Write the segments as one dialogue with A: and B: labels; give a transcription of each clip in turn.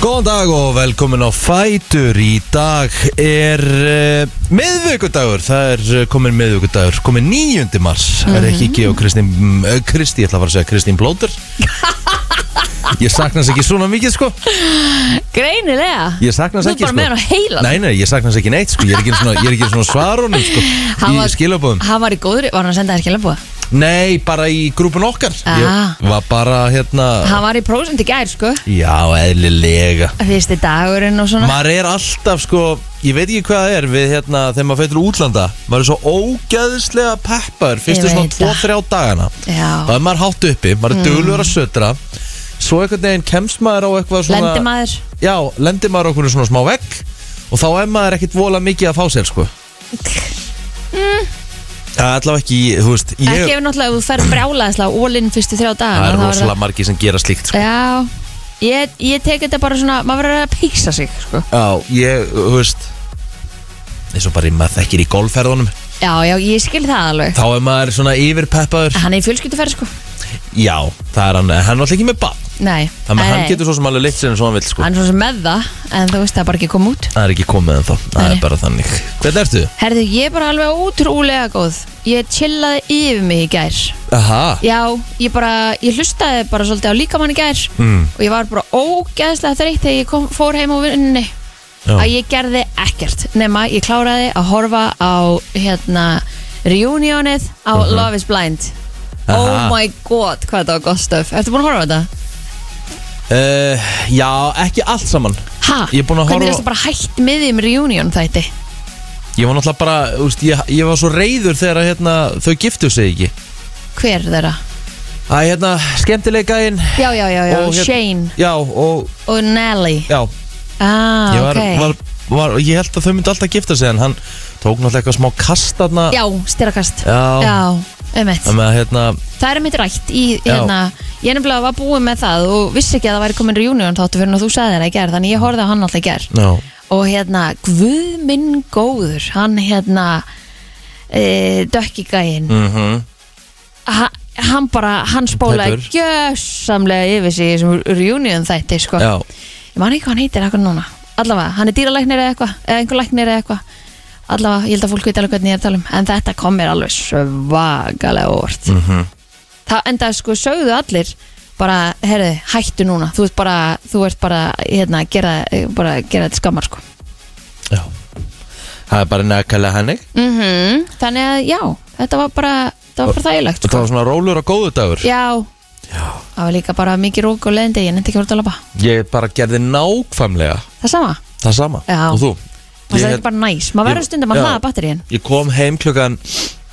A: Góðan dag og velkomin á Fætur Í dag er uh, miðvöggudagur Það er eh, komin miðvöggudagur Komin 9. mars Er
B: Mhm.
A: ekki ekki og Kristín mm, eh, Kristi, ég ætla að fara að segja Kristín Blóter Ég sakna þess ekki svona mikið sko
B: Greinilega
A: Ég sakna þess
B: Þú
A: ekki
B: bara
A: sko
B: með hann á heilan.
A: Nei, nei, ég sakna þess ekki neitt sko Ég er ekki einu svona, ég er ekki einu svona svarunum sko
B: Hann
A: Í skilabóðum
B: Hann var í góðri, var hann að senda þér skilabóða?
A: Nei, bara í grúpun okkar
B: Ah.
A: Ég var bara hérna
B: Hann var í prósent í gær sko
A: Já, eðlilega
B: Fyrsti dagurinn og svona
A: maður er alltaf sko ég veit ekki hvað það er við hérna þegar maður feitur útlanda maður er svo ógæðislega peppar fyrstu
B: Ég
A: svona
B: veit
A: 2-3 dagana þá
B: Já
A: er maður hátt uppi, maður er mm. duglugur að södra svo einhvern veginn kemst maður á eitthvað svona
B: Lendi maður
A: já, lendir maður okkur svona smá vegg og þá er maður ekkit vola mikið að fá sér sko það er allavega ekki, þú veist
B: Mm. Ekki
A: ég,
B: ef náttúrulega ef þú fer brjálaðislega Ólinn fyrstu þrjá
A: það
B: dagar
A: er rosalega margir sem gera slíkt sko.
B: Já Ég, ég tek þetta bara svona Maður verður að píksa sig sko
A: já, ég, þú veist eins og bara í- maður þekkir í golfferðunum
B: Já, já, ég skil það alveg
A: þá er maður svona yfirpeppaður
B: Hann er í fjölskylduferð sko
A: Já, það er hann, hann er alltaf ekki með bann
B: Nei
A: Þannig að
B: Nei,
A: hann
B: nei.
A: getur svo sem alveg leitt sér en svo hann vil sko
B: Hann er svo sem með það En þú veist það er bara ekki kom út
A: Það er ekki komið en þá, það
B: Nei.
A: er bara þannig Hvernig ertu?
B: Herðu, ég er bara alveg ótrúlega góð Ég chillaði yfir mig í gær
A: Aha,
B: Já, ég bara, ég hlustaði bara svolítið á líkamann í gær
A: Mm.
B: og ég var bara ógeðslega þreytt þegar ég kom, fór heim á vinnunni
A: Já.
B: að ég gerði ekkert nema ég kláraði að horfa á hérna reunionið á Love is Blind
A: Mhm. Aha.
B: Oh my god, hvað þetta var gott stöf Ertu búin að horfa á þetta?
A: uh, já, ekki allt saman
B: Ha?
A: Ég er búin að horfa-
B: Hvernig er þetta bara hætt með því um reunion þætti?
A: Ég var náttúrulega bara, úst, ég, ég var svo reyður þegar að, hérna, þau giftu sig ekki
B: Hver þeirra?
A: Æ, hérna, skemmtilega gæinn
B: Já, já, já, já,
A: og hérna-
B: Shane
A: Já, og,
B: og Nelly
A: já,
B: Ah,
A: ég var,
B: ok
A: var, var, ég held að þau myndi alltaf gifta sig en hann tók náttúrulega eitthvað smá kast þarna
B: Já, styrakast
A: Já.
B: já um
A: Þannig að, hérna,
B: Það er mitt rætt í
A: Já.
B: hérna Ég nefnilega var búin með það og vissi ekki að það væri komin reunion þáttu fyrir en þú sagði það í gerð þannig ég horfði á hann alltaf í gerð
A: já,
B: og hérna Guð minn góður hann hérna e, dökki gæinn
A: mhm
B: ha, hann bara, hann spólaði
A: Tæpur.
B: gjössamlega yfir sig í þessum reunion þætti sko
A: já,
B: ég man ekki hvað hann heitir eitthvað núna allavega, hann er dýralæknir eða eitthvað eða einhver læknir eða eitthvað allavega, ég held að fólk veit alveg hvernig ég er að tala um en þetta kom mér alveg svagalega óvart mm -hmm. það enda sko sögðu allir bara, herðu, hættu núna þú ert bara, þú ert bara, hérna gera, bara gera þetta skammar sko
A: já Það er bara nækælega hennig
B: mm þannig að já, þetta var bara þetta var bara þægilegt
A: Það
B: sko.
A: var svona rólur og góðu dagur
B: já, það var líka bara mikið rók og leðindi, ég nefndi ekki að voru að labba
A: Ég bara gerði nákvæmlega
B: það sama,
A: það sama
B: Já.
A: og þú
B: það er
A: ég,
B: ekki bara næs maður
A: ég-
B: verður stundum að
A: já.
B: hlaða batteríin
A: ég kom heim klukkan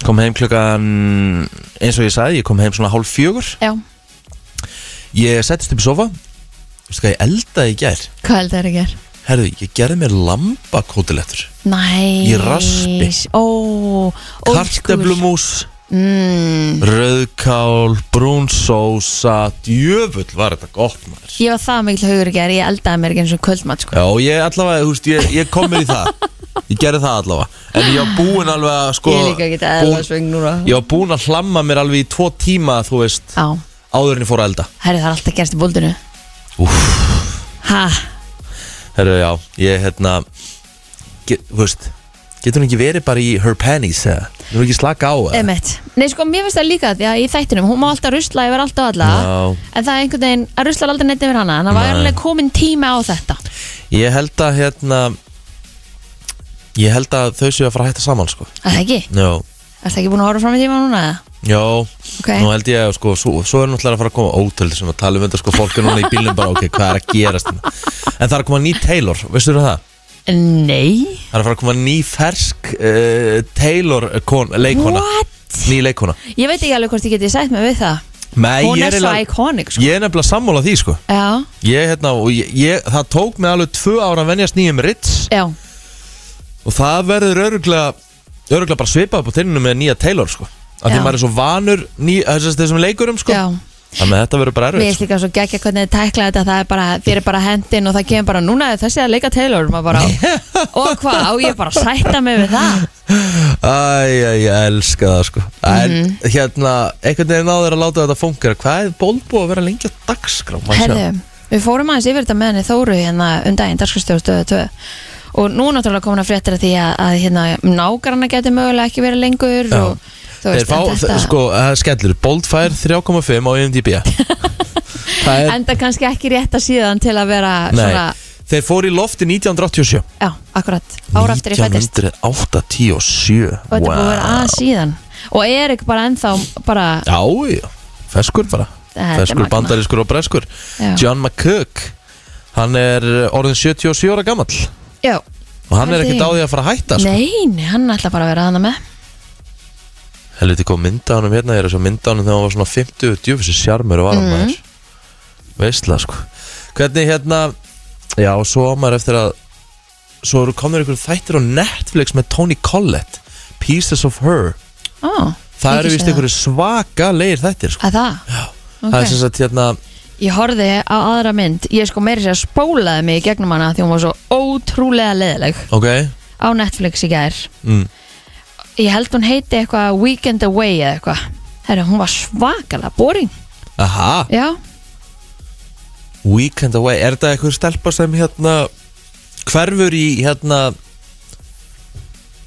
A: kom heim klukkan eins og ég sagði, ég kom heim svona hálf fjögur
B: já,
A: ég settist upp í sofa veistu hvað ég eldaði í gær
B: hvað held það er að gera?
A: herðu, ég gerði mér lambakótilettur
B: Næs
A: Í raspi.
B: Ó, old school.
A: kartöflumús,
B: mm,
A: rauðkál brún sósa djöfull var þetta gott maður
B: Ég var það mikil haugur ger Ég eldaði mér ekki eins og kvöldmatt sko.
A: Já, og ég allavega, þú veist, ég, ég kom mér í það Ég gerði það allavega En ég var búinn alveg að sko
B: Ég líka ekki að elda sveng núna
A: Ég var búinn að hlamma mér alveg í tvo tíma, þú veist
B: Já,
A: Áður en ég fór að elda
B: herri það er alltaf gerst í bóldinu
A: Úff.
B: Ha,
A: Herru, já, ég, hérna get, Þú veist, getur hún ekki verið bara í her panties, eða? Þú er ekki slaka á, eða?
B: emitt Nei sko, mér finnst það líka því að í þættinum Hún má alltaf rusla yfir alltaf alla
A: Já.
B: En það er einhvern veginn að rusla aldrei neitt yfir hana En það var
A: Nei.
B: alveg komin tíma á þetta
A: Ég held að, hérna Ég held að þau séu að fara að hætta saman, sko
B: Er það ekki?
A: Já,
B: Er það ekki búin að horfa fram í tíma núna? eða?
A: já
B: Ok,
A: Nú held ég að sko, svo, svo er náttúrulega að fara að koma ótöldið sem að tala um þetta sko, fólk er núna í bílum bara, ok, hvað er að gerast hérna? En það er að koma ný Taylor, veistu þú það?
B: Mm. nei
A: Það er að fara að koma ný fersk uh, Taylor kon, leikona,
B: What?
A: ný leikona
B: Ég veit ekki alveg hvort ég geti sætt mig við það
A: Nei,
B: Hún
A: ég
B: er svo
A: eiginlega-
B: iconic sko.
A: Ég er nefnilega sammála því sko
B: Já,
A: Ég, hérna, og ég, ég, það tók mig alveg tvö ára að venjast nýjum Ritz
B: já
A: og það verður öruglega öruglega bara svipað upp á tinninu með nýja Taylor sko að því
B: Já.
A: maður er svo vanur ný, þessum, þessum leikurum sko
B: Já,
A: þannig að þetta verður bara sko.
B: mér
A: erfið
B: finnst líka svo geggja hvernig þið tækla þetta það er bara, þér er bara hendin og það kemur bara núna er þessi að leika Taylor maður bara, og hvað, á ég bara að sætta mig við það
A: Æ, æ, ég elska það sko En
B: Mhm.
A: hérna, einhvern veginn náður að láta þetta fungera Hvað er bólbú að vera lengi á dagskrá? Má sjá.
B: Herðu, Við fórum aðeins yfir þetta með henni Þóru hérna um daginn, dagskristöðustöðu 2 og nú náttúrulega komin að fréttir að því að, að hérna, nágranna geti mögulega ekki verið lengur
A: Já.
B: og þú
A: Þeir
B: veist,
A: fá,
B: en þetta
A: sko, það er skellur Boldfire 3,5 á IMDb Það er,
B: enda kannski ekki rétta síðan til að vera
A: nei
B: svona,
A: Þeir fóru í lofti 1987
B: já, akkurat áraftur í fættist
A: 1987
B: og þetta er búið að vera að síðan og Erik bara ennþá bara,
A: Já, já, feskur bara
B: Þetta er
A: Feskur,
B: magnað.
A: bandarískur og breskur
B: Já.
A: John McCook Hann er orðin 77 ára gamall
B: já,
A: Og hann er
B: Pældi
A: ekkert
B: í.
A: á því að fara að hætta sko.
B: nei, nei, hann ætla bara að vera hana með
A: Helviti kom mynda honum hérna Ég er að sjá mynda honum þegar hann var svona 50 Djúfisir sjarmur og
B: Mm.
A: varum maður Veistla sko Hvernig hérna Já, svo á maður eftir að Svo eru komnir ykkur þættir á Netflix með Tony Collette Pieces of Her
B: Ó,
A: Það
B: ég
A: eru
B: ekki Ah,
A: vist
B: séð
A: ykkur svaka leir þættir sko.
B: Að það? Já,
A: Það er sem sagt hérna
B: Ég horfði á aðra mynd Ég sko meiri sér að spólaði mig í gegnum hana því hún var svo ótrúlega leðileg
A: Ok,
B: á Netflix í gær
A: mm,
B: Ég held hún heiti eitthvað Weekend Away eða eitthvað Herra, hún var svakalega boring
A: aha
B: Já,
A: Weekend Away, er þetta eitthvað stelpa sem hérna hverfur í hérna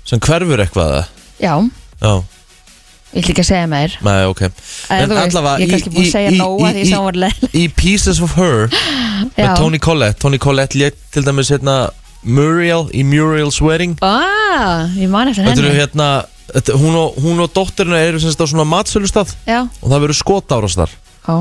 A: sem hverfur eitthvað eða?
B: já,
A: Já,
B: ég ætla ekki að segja meir
A: nei, ok
B: Eða þú veist, ég er kannski búin að segja nóg að því sem hún var leðileg
A: í Pieces of Her með
B: Já.
A: Tony Collette Tony Collette létt til dæmis hérna Muriel í Muriel's Wedding
B: Á, ég man eftir
A: Þetta eru
B: henni
A: hérna, þetta, hún og, hún og dóttirina eru semst á svona matsölustaf
B: Já,
A: og það verður skotárastar
B: ó,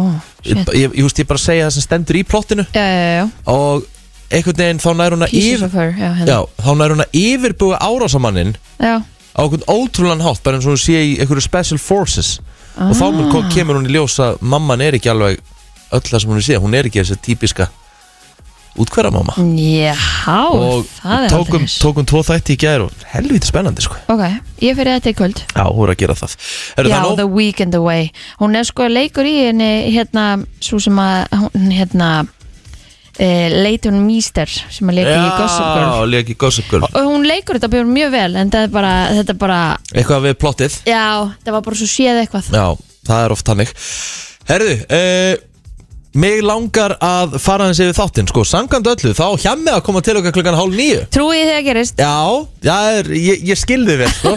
A: ég,
B: shit
A: ég, ég, veist, ég bara segja það sem stendur í plottinu
B: Já, já, já, já,
A: og einhvern veginn þá nær hún að
B: Pieces
A: yfir
B: of Her Já, hérna.
A: Já, þá nær hún að yfirbúa árásamannin
B: já.
A: á einhvern ótrúlan hátt, bara eins og hún sé í einhverju special forces og þá mun-
B: Ah.
A: kom- kemur hún í ljós að mamman er ekki alveg öll það sem hún sé, hún er ekki þessi típiska útkverra mamma
B: Jáhá,
A: og
B: það er
A: tókum,
B: aldeilis.
A: tókum tvo þætti í gær og helviti spennandi sko
B: Ok, ég fyrir þetta í kvöld
A: Já, hún er að gera það Eru
B: Já,
A: það
B: The
A: nóg?
B: Weekend Away Hún er sko leikur í henni hérna, svo sem að hún hérna e, Leighton Meester sem að leika í Gossip Girl
A: Já, leik í Gossip Girl
B: og hún leikur þetta björn mjög vel en þetta er bara, þetta er bara
A: Eitthvað við plottið
B: já, það var bara svo séð eitthvað
A: Já, það er oft hannig Herðu, uh, mig langar að fara hans yfir þáttinn sko, samkvæmt öllu, þá hjemmið að koma til okkar klukkan hálf nýju
B: Trúið þið að gerist?
A: Já, það er, ég, ég skilði vel sko.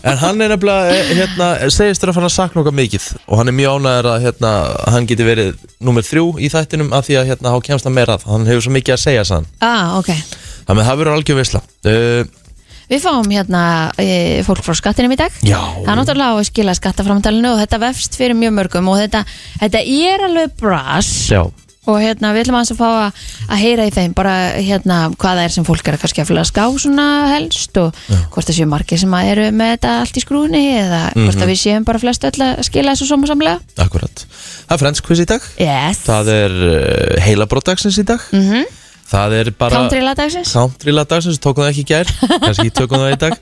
A: En hann er nefnilega eh, hérna, segist þér að fara að sakna okkar mikið og hann er mjög ánæður að hérna, hann geti verið nummer þrjú í þættinum af því að hérna, hann kemst að meira að hann hefur svo mikið að segja sann
B: Ah, ok
A: Þannig að það verður algjör veisla uh,
B: Við fáum hérna e, fólk frá skattinum í dag
A: Já.
B: Það er náttúrulega á að skila skattaframtalinu og þetta vefst fyrir mjög mörgum og þetta, þetta er alveg bras
A: Já,
B: og hérna við ætlum aðeins að fá að, að heyra í þeim bara hérna hvað það er sem fólk er að kannski að flaska á svona helst og hvort það séu margir sem að eru með þetta allt í skrúni eða
A: Mhm.
B: hvort að við séum bara flest öll að skila þessu svona samlega
A: akkurat Það er frends quiz í dag
B: yes.
A: Það er uh, heilabrótdagsins í dag -hmm. Það er bara
B: Mhm. country lagdagsins
A: Countryla dagsins, tókum það ekki í gær kannski tökum það í dag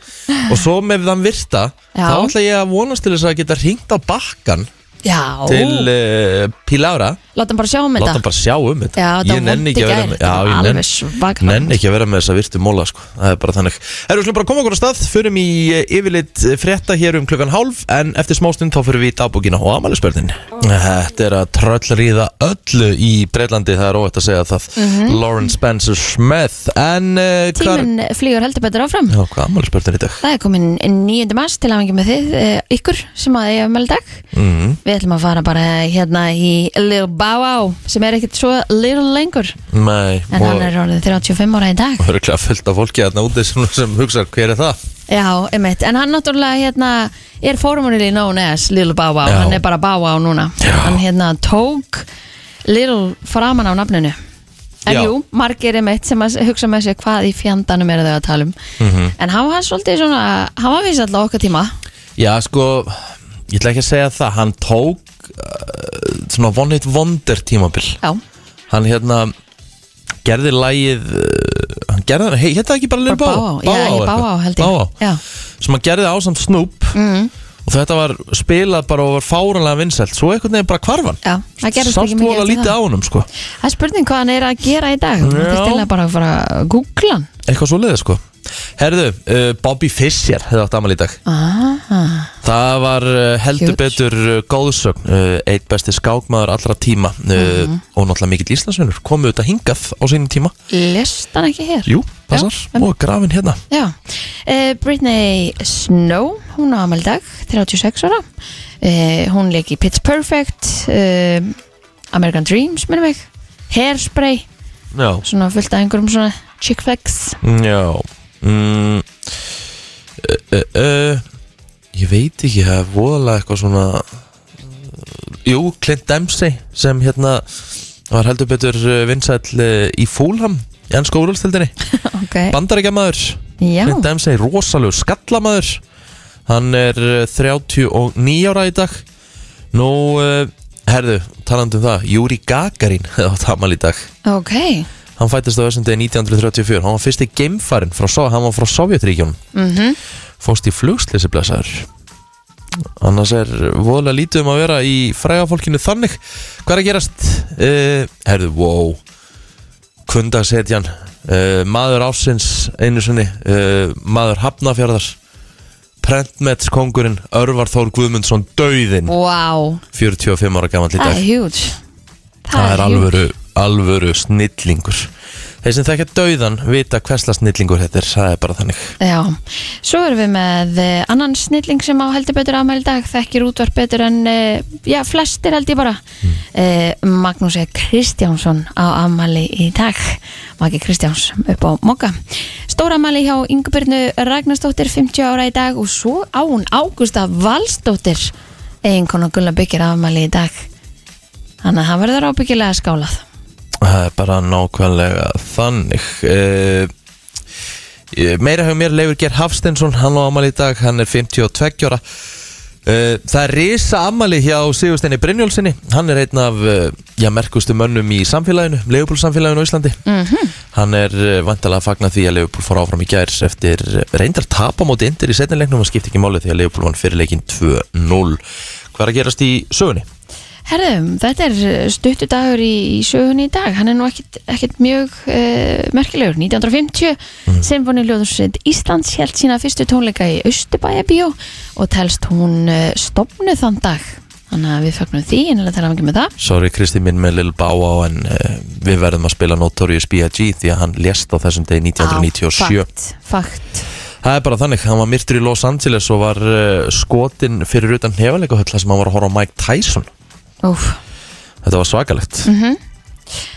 A: og svo með þann virta
B: Já.
A: þá ætla ég að vonast til þess að geta hringt á bakkan
B: já,
A: til uh, Pílára
B: látum bara sjá um
A: láta hann
B: þetta
A: bara sjá um þetta
B: Já, þetta
A: ég
B: var
A: nenni
B: vont
A: ekki
B: í
A: að vera
B: gær,
A: með
B: þetta var
A: já,
B: alveg
A: ég nenn,
B: svakalegt.
A: nenni ekki að vera með þessa virtu móla sko. það er bara þannig erum við slum bara að koma okkur á stað förum í eh, yfirleitt frétta hér um klukkan hálf en eftir smástund þá förum við í dagbúkina og amalispörðin þetta er að tröllriða öllu í Breitlandi það er óvægt að segja það Lauren Spencer Smith en uh, hvað
B: Mhm. tíminn flýgur heldur betur áfram
A: Já, hvað amalispörðin í dag
B: það er komin 9. mars til aðvengi með þið eh, ykkur sem að eiga meðal dag
A: mm,
B: við ætlum að fara bara hérna í Lil Bow Wow sem er ekkert svo Lil lengur
A: nei
B: en hann er orðið 35 ára í dag
A: og örgulega fullt af fólki þarna úti sem, sem hugsa hver er það
B: Já, einmitt, en hann náttúrulega hérna, er formunili known as Little Bow Wow,
A: Já.
B: hann er bara Bow Wow núna
A: Já.
B: hann hérna tók Little framan á nafninu en
A: Já.
B: jú, margir einmitt sem að hugsa með sér hvað í fjandanum eru þau að tala um
A: Mhm.
B: en hann var svolítið svona hann var vissið alltaf okkar tíma
A: Já, sko, ég ætla ekki að segja það Hann tók uh, svona One Hit Wonder tímabil
B: Já,
A: Hann hérna gerði lagið uh, Hann gerði hann, hei, hérna ekki bara Lil
B: bara Bow Wow, já, ég Bow Wow held ég
A: Báá,
B: Já,
A: sem hann gerði ásamt Snoop
B: Mhm.
A: Og þetta var spilað bara og var fáranlega vinsælt Svo einhvern veginn bara hvarfan
B: já, það gerðist
A: Sást
B: ekki mikið
A: vola
B: eftir
A: lítið á honum, sko
B: Það er spurning hvað hann er að gera í dag Það er
A: Já.
B: stilla bara að fara að googla hann
A: Eitthvað svo leiði, sko Herðu, uh, Bobby Fischer hefði átt amal í dag
B: Ah,
A: Það var uh, heldur
B: Huge.
A: betur uh, góðsögn, uh, eitt besti skákmaður allra tíma uh, og náttúrulega mikill Íslandsvinnur komu auðvitað hingað á sínum tíma
B: lest hann ekki hér?
A: Jú, passar,
B: Já,
A: og grafin hérna
B: Já, uh, Britney Snow, hún á amal dag, 36 ára. Uh, hún leik í Pitch Perfect, uh, American Dreams, minnum ég, Hairspray,
A: Já,
B: svona fullt af einhverjum svona chick flags.
A: já mm, uh, uh, uh, Ég veit ekki, það er voðalega eitthvað svona eh, Jú, Clint Dempsey sem hérna var heldur betur uh, vinsæll uh, í Fúlham í ennska úrvalstildinni
B: Ok,
A: Bandaríkjamaður
B: já,
A: Clint Dempsey, rosalegu skallamæður Hann er eh, 39 ára í dag Nú, uh, herðu, talandi um það Júri Gagarin á tamal í dag
B: ok,
A: Hann fættist á þessum degi 1934 Hann var fyrsti geimfarin frá, Sov- hann var frá Sovjetríkjunum
B: mhm.
A: Fóst í flugslýsi blessaður Annars er voðalega lítið um að vera í frægafólkinu þannig Hvað er að gerast? Uh, herðu, wow Kundasetjan uh, Maður ásins einu sinni uh, Maður hafnafjörðar Prentmets kongurinn Örvar Þór Guðmundsson Dauðinn
B: Wow,
A: 45 ára gamall í
B: það
A: dag
B: er huge
A: Það er
B: huge.
A: alvöru, alvöru snillingur Þeir sem þekkja dauðan vita hversla snillingur þetta er Það er bara þannig
B: Já, svo erum við með eh, annan snilling sem á heldur betur afmæli í dag þekkir útvarp betur en eh, já, flestir held ég bara mm. Magnús E. Kristjánsson á afmæli í dag Maggi Kristjáns upp á Mokka Stóra afmæli hjá Yngubirnu Ragnarsdóttir 50 ára í dag og svo á hún Ágústa Valsdóttir eiginkona Gulla Byggir afmæli í dag Þannig að það verður ábyggilega skálað
A: Það er bara nákvæmlega þannig uh, Meira hefur mér Leifur Geir Hafstensson Hann á ammali í dag, hann er 52 ára uh, Það er risa ammali hjá Sigursteini Brynjólfsinni Hann er einn af uh, já, merkustu mönnum í samfélaginu Leifupúlsamfélaginu á Íslandi
C: Mm.
B: Mhm.
A: Hann er uh, vantilega að fagna því að Leifupúl fór áfram í gærs Eftir eh, reyndar tapamóti indir í setnilegnum Það skipti ekki máli því að Leifupúl vann fyrirleikin 2-0 Hvað er að gerast í sögunni?
B: Herðum, þetta er stuttu dagur í, í sögunni í dag, hann er nú ekkit, ekkit mjög uh, merkilegur. 1950 mm. Sinfoni Ljóðursveit Íslands held sína fyrstu tónleika í Östubæjabíó og telst hún uh, stopnu þann dag. Þannig að við fagnum því, innlega tala ekki með það.
A: Sorry Kristi minn með Lil Báá en uh, við verðum að spila Notorious B.I.G. því að hann lést á þessum degi 1997
B: Fakt, fakt.
A: Það er bara þannig, hann var myrtur í Los Angeles og var uh, skotin fyrir utan hefalega höll sem hann var að horfa á Mike Tyson
B: Úf.
A: Þetta var svakalegt
B: Mhm.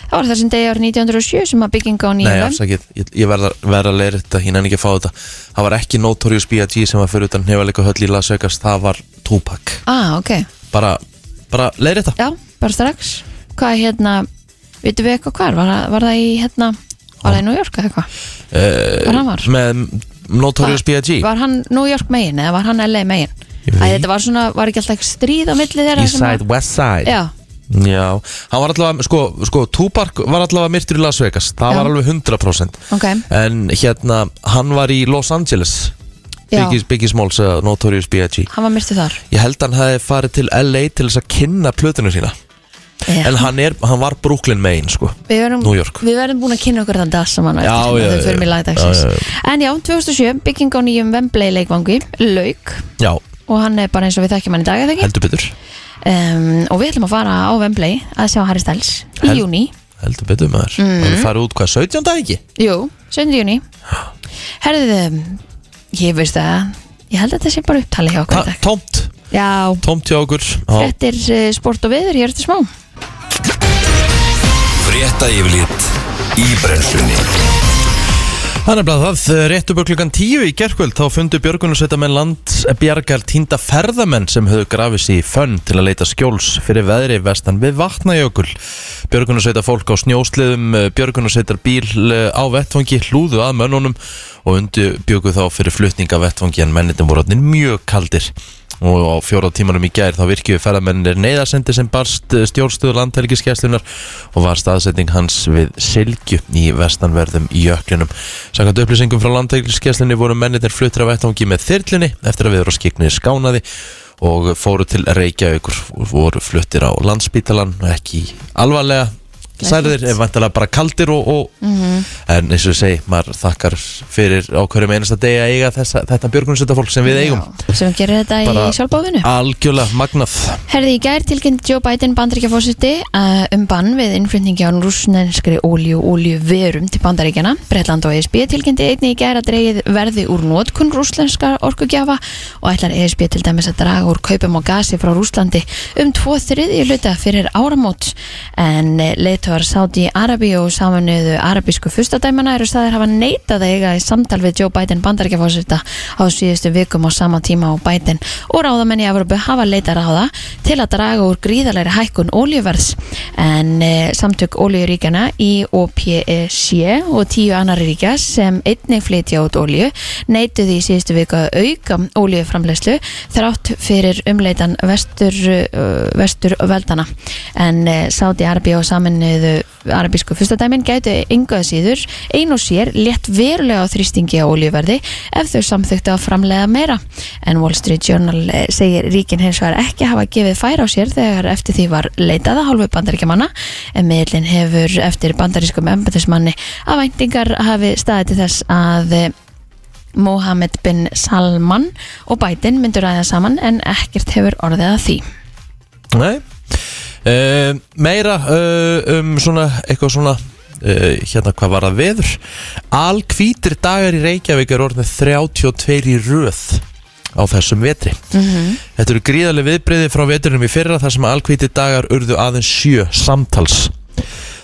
B: Það var þessum degi árið 1907 sem að bygging á
A: Nei,
B: nýjum.
A: afsakið, ég, ég verð að, verð að leira þetta, ég nenni ekki að fá þetta Það var ekki Notorious B.I.G. sem var fyrir utan hefalega höll í Las Vegas, það var Tupac
B: Ah, ok.
A: Bara, bara leira þetta
B: Já, bara strax. Hvað hérna, vitum við eitthvað hvar? Var, það- var það í hérna, var það í New York eða eitthvað? Hvar hann var?
A: Eh, Með Notorious B.I.G.
B: Var hann New York megin eða var hann LA megin?
A: Ég
B: Æ,
A: veit.
B: þetta var svona, var ekki alltaf eitthvað stríð á milli þeirra sem að-
A: Eastside, Westside
B: Já,
A: Já, hann var allavega, sko, sko Tupac var allavega myrtur í Las Vegas Það
B: Já.
A: var alveg 100%
B: ok
A: En hérna, hann var í Los Angeles
B: Já,
A: Biggie, Biggie Smalls, eða Notorious B.I.G
B: hann var myrtu þar
A: Ég held hann hefði farið til LA til þess að kynna plötinu sína
B: Já.
A: En hann, er, hann var Brooklyn Maine, sko
B: Við verðum,
A: New York.
B: við verðum búin að kynna okkur þann dag saman á
A: Já,
B: eftir,
A: já,
B: þegar við förum í
A: já,
B: lagdagsins
A: já,
B: En já, 2007, bygging á nýjum Wembley leikvangi, lauk
A: Já,
B: og hann er bara eins og við þekkjum hann í dag eða ekki
A: heldur betur
B: um, og við ætlum að fara á Wembley að sjá Harry Styles í
A: Hel-
B: júni
A: Heldur betur maður mm. Hann farið út hvað, 17 dag ekki?
B: Jú, 7. júni Herðið, ég veist það Ég held að þetta sé bara upptali hjá okkur í
A: Ha,
B: dag
A: tómt,
B: Já,
A: tómt hjá okkur Já,
B: Þetta er eh, sport og veður, ég er þetta smá
D: Frétta yfirlit í brennslunni
A: Það er bara það, eh, rétt upp á klukkan 10 í gerkvöld þá fundu björgunarsveitamenn landsbjargar týnda ferðamenn sem höfðu grafið sér í fönn til að leita skjóls fyrir veðri vestan við vatnajökul. Björgunarsveita fólk á snjósliðum, björgunarsveitar bíl á vettfangi hlúðu að mönnunum og undirbjöku þá fyrir flutninga vettfangi en mennitum voru orðin mjög kaldir. Og á fjóra tímanum í gær þá virkjuðu ferðamennir neyðarsendi sem barst stjórnstöðu landhelgiskeslunar og var staðsetning hans við Silgju í vestanverðum jöklinum. Samkvæmt upplýsingum frá landhelgiskeslinni voru mennir fluttir af vettvangi með þyrlunni eftir að viður og skiknið skánaði og fóru til Reykjavíkur og voru fluttir á landspítalan ekki alvarlega særðir, er vantilega bara kaldir og, og en eins og ég segi, maður þakkar fyrir á hverjum einasta degi að eiga þessa, þetta björgunsetta fólk sem við eigum
B: Já, sem gerir þetta
A: Bara-
B: í sjálfbófinu
A: algjörlega magnað
B: Herði í gær tilkynnt Joe Biden bandaríkjafósiti uh, um bann við innflutningi á rúsnenskri ólíu og ólíu verum til bandaríkjana. Bretland og ESB tilkynnti einnig í gær að dreigið verði úr notkun rúslenska orkugjafa og ætlar ESB til dæmis að draga úr kaupum á gasi frá Rúslandi um tvo þriðju hluta fyrir áramót en eh, leiðtogar Saudi Arabi og samanuðu arabísku fyrstadæmana eru staðir hafa neitað að eiga í samtal við Joe Biden bandaríkjafósita á síðustu vikum á sama tíma og Biden og ráðamenn í Evropu hafa leita ráða til að draga úr gríðalegri hækkun oljuverðs en e, samtök E oljuríkjana í OPEC og tíu annari ríkja sem einnig flytja út olju neituði í síðustu viku að auka oljuframleyslu þrátt fyrir umleitan vestur, uh, vestur veldana en e, Saudi Arabi og saminuðu arabísku fyrstadæmin gætu yngu að síður ein og sér létt verulega á þrýstingi á oljuverði ef þau samþyktu að framlega meira. En Wall Street Journal eh, segir ríkin hins vegar ekki hafa gefið færa á sér þegar eftir því var leitað að hálfu bandaríkjamanna en miðlinn hefur eftir bandarískum embatismanni að væntingar hafi staðið til þess að eh, Mohammed bin Salman og Biden myndur ræða saman en ekkert hefur orðið að því.
A: Nei uh, Meira uh, um svona eitthvað svona uh, hérna hvað var það veður Alkvítir dagar í Reykjavík er orðin 32 í röð á þessum vetri
E: Mhm.
A: Þetta eru gríðarlega viðbreyði frá veturinnum í fyrra þar sem alkvítir dagar urðu aðeins sjö samtals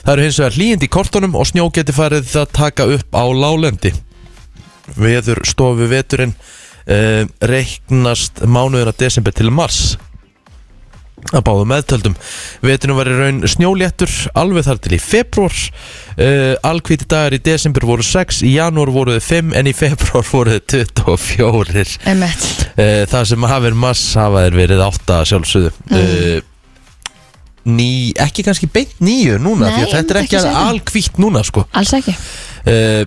A: Það eru hins vegar hlýjandi í kortunum og snjó geti farið að taka upp á lálendi Veður stofu veturinn uh, reiknast mánuðina desember til mars að báðu meðtöldum vetunum var í raun snjóléttur alveg þar til í februar uh, alkvíti dagar í desember voru 6 í janúar voru þið 5 en í februar voru þið 24
B: Emmett.
A: uh, það sem hafir mass hafa þeir verið 8 sjálfsögðu mm. ný, ekki kannski beint nýju núna því
B: Nei,
A: að þetta er
B: ég myndi
A: ekki
B: ekki segja það.
A: alkvítt núna sko
B: Alls ekki.
A: Eh,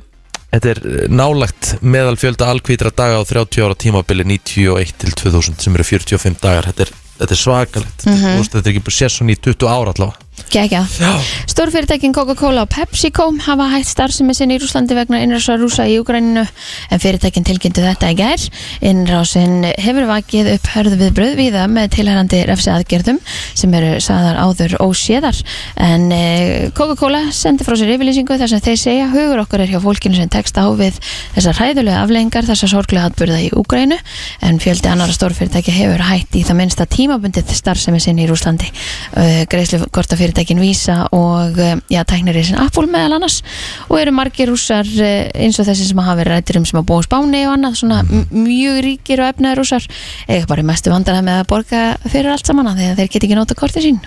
A: Þetta er nálagt meðal fjölda alkvítra daga á 30 ára tímabili 91 til 2000 sem eru 45 dagar Þetta er, þetta er svakalegt mm -hmm. Þetta er ekki bara sér svona í 20 ára allavega
B: Gekjað.
A: Já,
B: Stórfyrirtækin Coca-Cola og PepsiCo hafa hægt starfsemi sinni í Rúslandi vegna innrása rúsa í Ugræninu en fyrirtækin tilkynntu þetta í gær. Innrásin hefur vakið upp hörðu við bröðvíða með tilhærandi refsi aðgerðum sem eru sagðar áður óséðar en eh, Coca-Cola sendi frá sér yfirlýsingu þar sem þeir segja hugur okkar er hjá fólkinu sem tekst á við þessar hræðulega aflengar þessar sorglega atbyrða í Ugrænu en fjöldi annara stórfyrirtæki hefur hægt í það minnsta tímabundið starfsemi sinni í Rúslandi uh, greiðslukorta fyrirtækin Visa og uh, já, tæknir í sin Apple meðal annars og eru margir rússar uh, eins og þessi sem hafa verið rættir um sem að búa á Spáni og annað svona m- mjög ríkir og efnaður rússar eða bara í mestu vandara með að borga fyrir allt saman af því að þeir geta ekki nota korti sín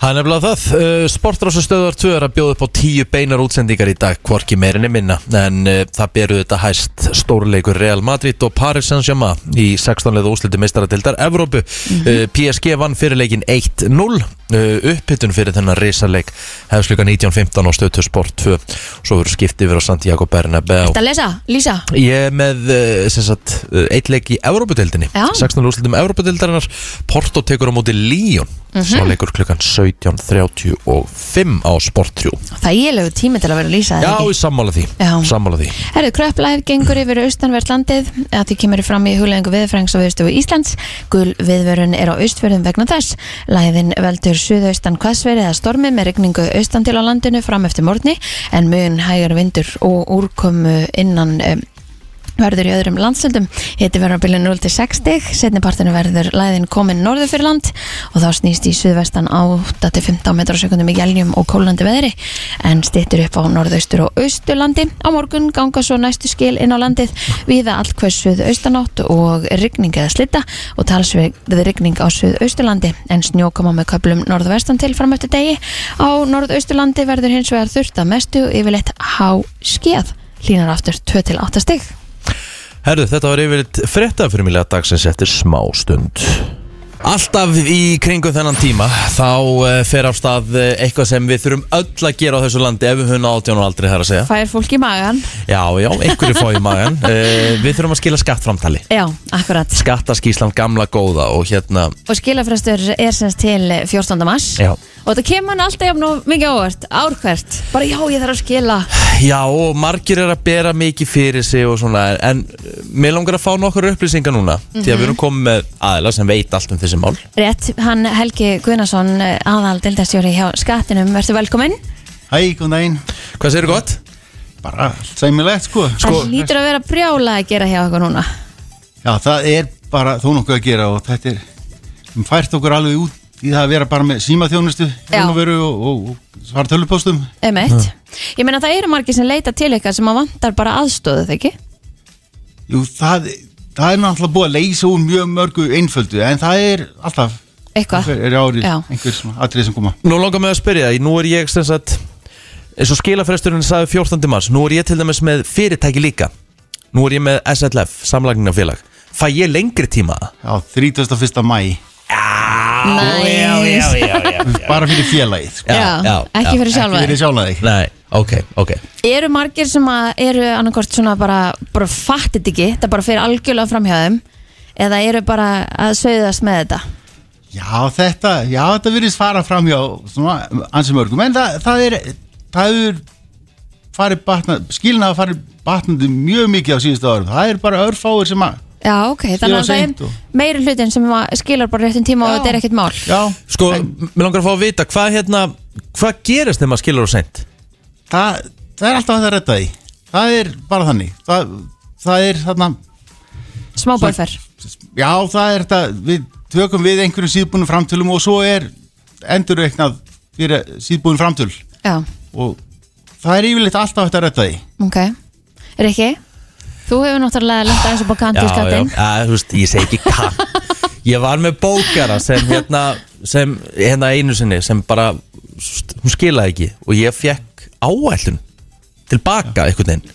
A: Það er nefnilega það. Uh, Sportrásustöðar 2 er að bjóða upp á tíu beinar útsendingar í dag, hvorki meirinni minna. En uh, það beru þetta hæst stórleikur Real Madrid og Paris Saint-Germain í 16 leða úslitu meistaratildar Evrópu. uh, PSG vann fyrirleikin 1-0. Uh, upphittun fyrir þennan risaleik hefst klukkan 19.15 á stöðtu Sport 2. Svo verður skipt yfir á Santiago Bernabeu.
B: Þetta lesa, Lísa
A: Ég er með eh, sem sagt, eh, eitt leik í Evrópudeldinni
B: Já.
A: 16. úrslitum Evrópudeldarinnar Porto tekur á móti Líón
B: Mhm.
A: Svo leikur klukkan 17.35 á Sportrjú
B: Það er ílegu tími til að vera Lísa
A: Já, ég sammála því,
B: Já.
A: sammála því.
B: Herðu, kröpplæð gengur yfir austanvert landið að því kemur fram í hugleðingu viðfrængs á viðstofu Íslands. Gul viðvörun er á austfjörðum vegna þess. Læðin veldur suðaustan hvassveri eða stormi með regningu austan til á landinu fram eftir morgni en mun hægar vindur og úrkomu innan um, verður í öðrum landsöldum hiti verður á bylun 0 til 60 setni partinu verður læðin komin norður fyrir land og þá snýst í suðvestan 8 til 15 metrar á sekundum í gælnjum og kólandi veðri en stýttur upp á norðaustur og austurlandi á morgun ganga svo næstu skil inn á landið viða allt hvers suðaustanátt og rigning eða slitta og talsverð rigning á suðausturlandi en snjó koma með köplum norðvestan til fram eftir degi á norðausturlandi verður hins vegar þurft að mestu og yfirleitt há skeð línar aftur 2 til 8 stig
A: Herðu, þetta var yfirleitt fréttafyrmilega dagsins eftir smá stund Alltaf í kringum þennan tíma þá uh, fer af stað uh, eitthvað sem við þurfum öll að gera á þessu landi ef við höfum átján og aldrei þar að segja
B: fær fólk í magan
A: Já, já, einhverju fá í magan uh, Við þurfum að skila skattframtali
B: Já, akkurat
A: skattaskíslan gamla góða og hérna
B: Og skilafrestur er semst til 14. mars
A: já,
B: og þetta kemur hann alltaf jafn og mikið ávart árkvært, bara já ég þarf að skila
A: Já, og margir er að bera mikið fyrir sig og svona, en eh, mér langar að fá nokkur upplýsingar núna, því að við erum komið með aðila sem veit allt um þessi mál.
B: rétt, hann Helgi Gunnarsson aðal deildastjóri hjá skattinum verður velkominn,
F: Hæ, góðan daginn
A: Hvað segir gott?
F: Bara allt sæmilegt sko
A: Sko-
B: hann lítur að vera brjála að gera hjá okkur núna
F: Já, það er bara þó nokkuð að gera og þetta er um fært okkur alveg út í það að vera bara með símaþjónustu
B: Já.
F: og, og, og, og svara tölvupóstum
B: Emmett, Um ég meina það eru margir sem leita til ykkar sem að vantar bara aðstóðu þegar ekki?
F: Jú, það, það er náttúrulega búið að leysa úr mjög mörgu einföldu en það er alltaf
B: Eitthvað?
F: er árið
B: Já.
F: einhver svona atrið sem koma
A: Nú langar mig að spyrja, því, nú er ég sem sagt, eins og skilafresturinn sagði 14. mars, nú er ég til dæmis með fyrirtæki líka. Nú er ég með SLF, samlagningafélag. Fæ ég lengri tíma?
F: á 31. mæ
B: Næs.
F: bara fyrir félagið sko.
B: Já, ekki fyrir sjálfa
F: ekki fyrir
B: þig.
F: sjálfa þig
A: Nei, ok, ok.
B: Eru margir sem að eru annarkort svona bara, bara fattit ekki, það bara fyrir algjörlega framhjáðum eða eru bara að sögðast með þetta?
F: Já, þetta, já, þetta virðist fara fram hjá svona ansi mörgum, en það, það er það er farið batnað, skilnaða farið batnandi mjög mikið á síðustu árum, það er bara örfáir sem að,
B: Já, ok, þannig að það
F: seint
B: er
F: og-
B: meiri hlutin sem að skilar bara réttin tíma og þetta er ekkert mál
F: já,
A: Sko,
F: en
A: mér langar að fá að vita, hvað hérna, hvað gerist þegar maður skilur og sent?
F: það, það er alltaf að það redda því, það er bara þannig, það, það er þarna,
B: Smá bólfer
F: já, það er þetta, við tökum við einhverjum síðbúnum framtölum og svo er endurreiknað fyrir síðbúnum framtöl
B: Já,
F: og það er yfirleitt alltaf hægt að redda því.
B: ok Rikki, þú hefur náttúrulega lent aðeins upp á kant í skattin
A: já, þú veist, ég segi ekki kann Ég var með bókara sem hérna, sem hérna einu sinni sem bara, st- hún skilaði ekki og ég fekk áætlun tilbaka einhvern veginn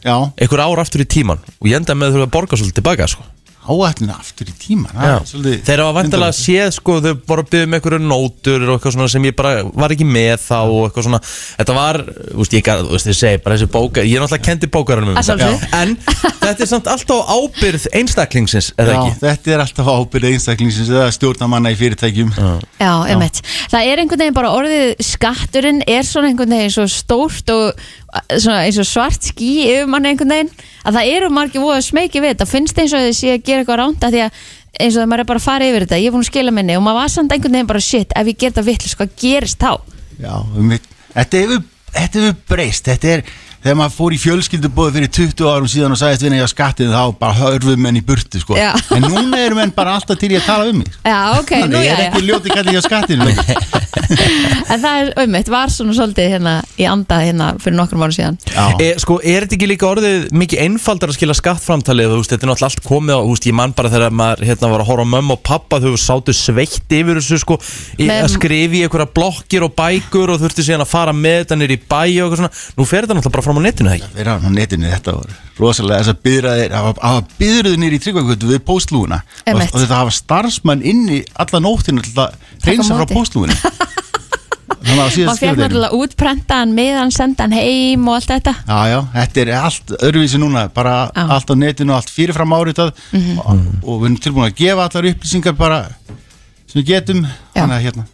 F: Já,
A: einhver ár aftur í tíman og ég endaði með að þurfa að borga svolítið tilbaka sko.
F: áætlina aftur í tíman það
A: Já.
F: er svolítið-
A: þeirra var vantilega að séð sko, þau bara byggðu með einhverju nótur og eitthvað svona sem ég bara var ekki með þá og eitthvað svona þetta var, þú veist, ég gat- þú veist, ég segi bara þessi bóka ég er náttúrulega kendi bókaranum um
B: Að sjálfsögðu.
A: þetta en þetta er samt alltaf á ábyrð einstaklingsins, eða
F: Já,
A: ekki?
F: þetta er alltaf ábyrðið einstaklingsins eða stjórnamanna í fyrirtækjum
B: Já, einmitt. Það er einhvern veginn bara orðið skatturinn er svona einhvern veginn svo stórt og uh, svona eins og svart ský yfir manni einhvern veginn að það eru margir voða smekið við þetta finnst eins og þið sé að gera eitthvað ránt að því að eins og það maður er bara að fara yfir þetta ég er búin að skila minni og maður var samt einhvern veginn bara shit ef ég ger þetta vitlis, hvað gerist þá?
F: Já, um mitt Þetta hefur, þetta hefur breyst Þetta er, þegar maður fór í fjölskyldubóð fyrir 20 árum síðan og sagðist vinna ég á skattið þá bara hörfum menn í burtu sko
B: Já.
F: En núna eru menn bara alltaf til ég að tala um mig
B: Já, ok, nú
F: Þannig ég
B: já,
F: er ekki ljóti kallið hjá skattinu lengur.
B: En það er einmitt, var svona svolítið hérna í anda hérna fyrir nokkrum árum síðan
F: Já,
A: E, sko, er þetta ekki líka orðið mikið einfaldar að skila skattframtalið, þú veist, þetta er náttúrulega allt komið á, þú veist, ég man bara þegar maður hérna var að horfa á mömmu og pappa, þau sátu sveitt yfir þessu, sko, í,
B: Með-
A: að skrifa í einhverja blokkir og bækur og þurfti síðan að fara með þetta nýri í bæ og eitthvað svona, nú fer þetta náttúrulega bara fram á netinu, það ekki?
F: vera á netinu þetta voru rosalega þess að byrðraðir hafa byrðruðu nýri í tryggvakvöldu við póstlúuna og,
B: Einmitt.
F: og þetta hafa starfsmann inni alla nóttinu til að reynsa frá
B: móti.
F: póstlúinu Þannig að
B: Maður
F: síðast
B: fekk náttúrulega útprentaðan miðan, sendan heim og allt þetta
F: Já, já, þetta er allt öðruvísi núna, bara
B: Já.
F: allt á netinu, allt fyrirfram áritað og, og við erum tilbúin að gefa allar upplýsingar bara sem við getum,
B: Já.
F: þannig að hérna,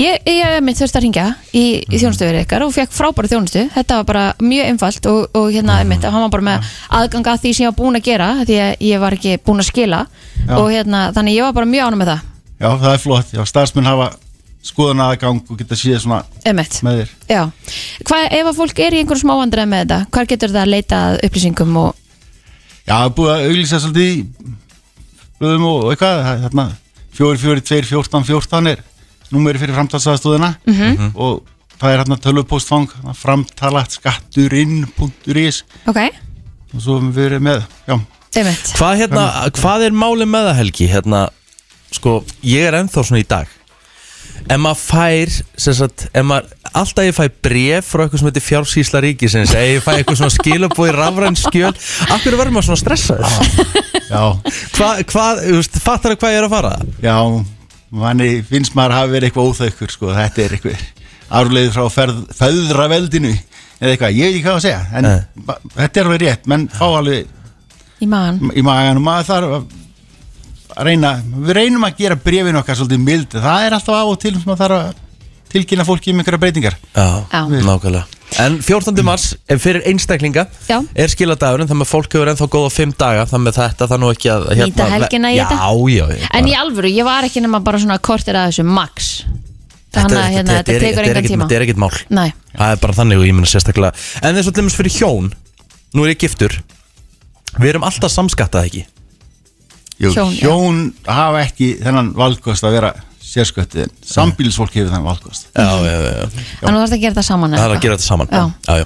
B: Ég, ég mitt þurfti að ringja í, í þjónustu verið ykkar og fekk frábæra þjónustu þetta var bara mjög einfalt og, og hérna mm. mitt, hann var bara með aðganga því sem ég var búin að gera því að ég var ekki búin að skila
F: Já.
B: og hérna, þannig ég var bara mjög ánum með það
F: já, það er flott, já, starfsmenn hafa skoðan aðgang og geta síða svona
B: emitt
F: með þér.
B: Já, hvað ef að fólk er í einhverjum smá vandræðum með þetta, hvað getur það að leita að upplýsingum og
F: Já, það er búið að auglýsa svolítið í blöðum og og eitthvað, það er hérna þarna 442 14 14 er númeri fyrir framtalsaðastóðina -hmm. og það er hérna tölvupóstfang, framtalat skatturinn.is
B: ok,
F: og svo höfum við verið með, já,
B: emitt
A: Hvað, hérna, hvað er málið með það, Helgi? Hérna, sko, ég er ennþá svona í dag. Ef maður fær, sem sagt, ef maður, alltaf ég fæ bref frá eitthvað sem heitir fjársýsla ríkisins, ef ég fæ eitthvað svona skilabói rafræn skjöl, af hverju verður maður svona stressaður?
F: já.
A: Hvað, hvað, þú veist, fattar það hvað ég er að fara?
F: Já, manni finnst maður hafi verið eitthvað óþaukur sko, þetta er eitthvað árleið frá ferð, föðraveldinu eða eitthvað, ég veit ekki hvað að segja en
A: Nei.
F: ba- þetta er alveg rétt, menn fá alveg
B: Í maðan,
F: í magan og maður þarf að að reyna, við reynum að gera brefin okkar svolítið mild, það er alltaf á og til sem maður þarf að tilkynna fólki um einhverja breytingar
A: Já,
B: Já.
A: nákvæmlega En 14. mars er fyrir einstaklinga
B: Já.
A: er skiladagurinn, þannig að fólk hefur ennþá góða fimm daga, þannig að þetta þannig ekki að hérna,
B: Nýta helgina í
A: já,
B: þetta.
A: Já, já,
B: En í alvöru, ég var ekki nema bara svona kortir að þessu max Þannig
A: er
B: að
A: ekkert-
B: hérna,
A: er-
B: þetta tekur
A: er
B: engan
A: ekkert-
B: tíma
A: Þetta er ekkert mál
B: Nei,
A: Það er bara þannig og ég meina sérstaklega En þess að lemast fyrir hjón, nú er ég giftur Við erum alltaf samskattað ekki
F: Jú,
B: Hjón,
F: hjón,
B: já.
F: hafa ekki þennan valkost að vera sérsköttið en sambílisfólk hefur þennan valkost
A: Já, já, já, já.
B: þannig þú þarfst að gera það saman eða
A: Það er að
B: eitthvað.
A: gera þetta saman
B: Já.
A: já, já.